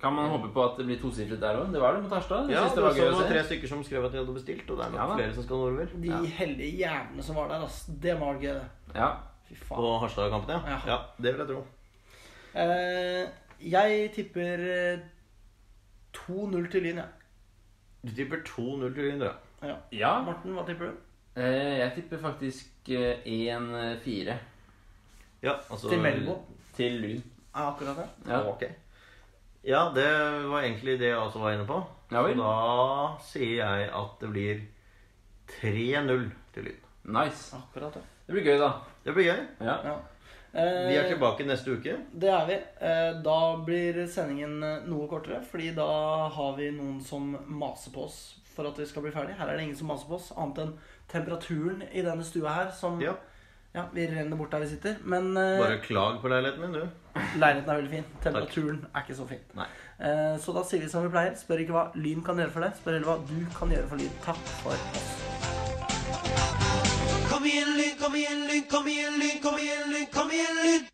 S3: Kan man håpe på at det blir tosifret der òg? Det var det mot Harstad. Jeg
S2: Ja,
S3: synes
S2: det
S3: det var
S2: var
S3: gøy å
S2: sånn
S3: se.
S2: tre stykker som skrev at de hadde bestilt, og det er nok
S3: Ja, da.
S2: flere som skal nordover.
S1: De heldige hjernene som var der, ass. Det var gøy, det.
S3: Ja.
S1: Fy faen.
S2: På Harstad-kampen, ja.
S1: Ja.
S2: ja. Det vil jeg tro.
S1: Eh, jeg tipper eh, 2-0 til Lyn, jeg.
S2: Du tipper 2-0 til Lyn, ja.
S1: Ja.
S3: ja.
S1: Morten, hva tipper du?
S3: Eh, Jeg tipper faktisk eh, 1-4
S2: Ja, altså,
S1: Til Melbo.
S3: til Lyn.
S1: Ja, akkurat det.
S3: Ja.
S2: Ok. Ja, det var egentlig det jeg også var inne på.
S3: Ja vel.
S2: Så da sier jeg at det blir 3-0 til Lyn.
S3: Nice.
S1: Akkurat, ja.
S3: Det blir gøy, da.
S2: Det blir gøy.
S3: Ja.
S1: ja.
S2: Vi er
S1: Eh,
S2: tilbake neste uke.
S1: Det er vi. Eh, Da blir sendingen eh, noe kortere, fordi da har vi noen som maser på oss for at vi skal bli ferdig. Her er det ingen som maser på oss, annet enn temperaturen i denne stua her som
S2: Ja.
S1: Ja, vi renner bort der vi sitter. Men eh,
S2: Bare klag på leiligheten min, du.
S1: leiligheten er veldig fin. Temperaturen er ikke så fin.
S2: Nei.
S1: Eh, Så da sier vi som vi pleier. Spør ikke hva Lyn kan gjøre for deg, spør heller hva du kan gjøre for Lyn. Takk for oss.
S7: Kom igjen, Lyn, kom igjen, Lyn, kom igjen, Lyn, kom igjen, Lyn, kom igjen, Lyn!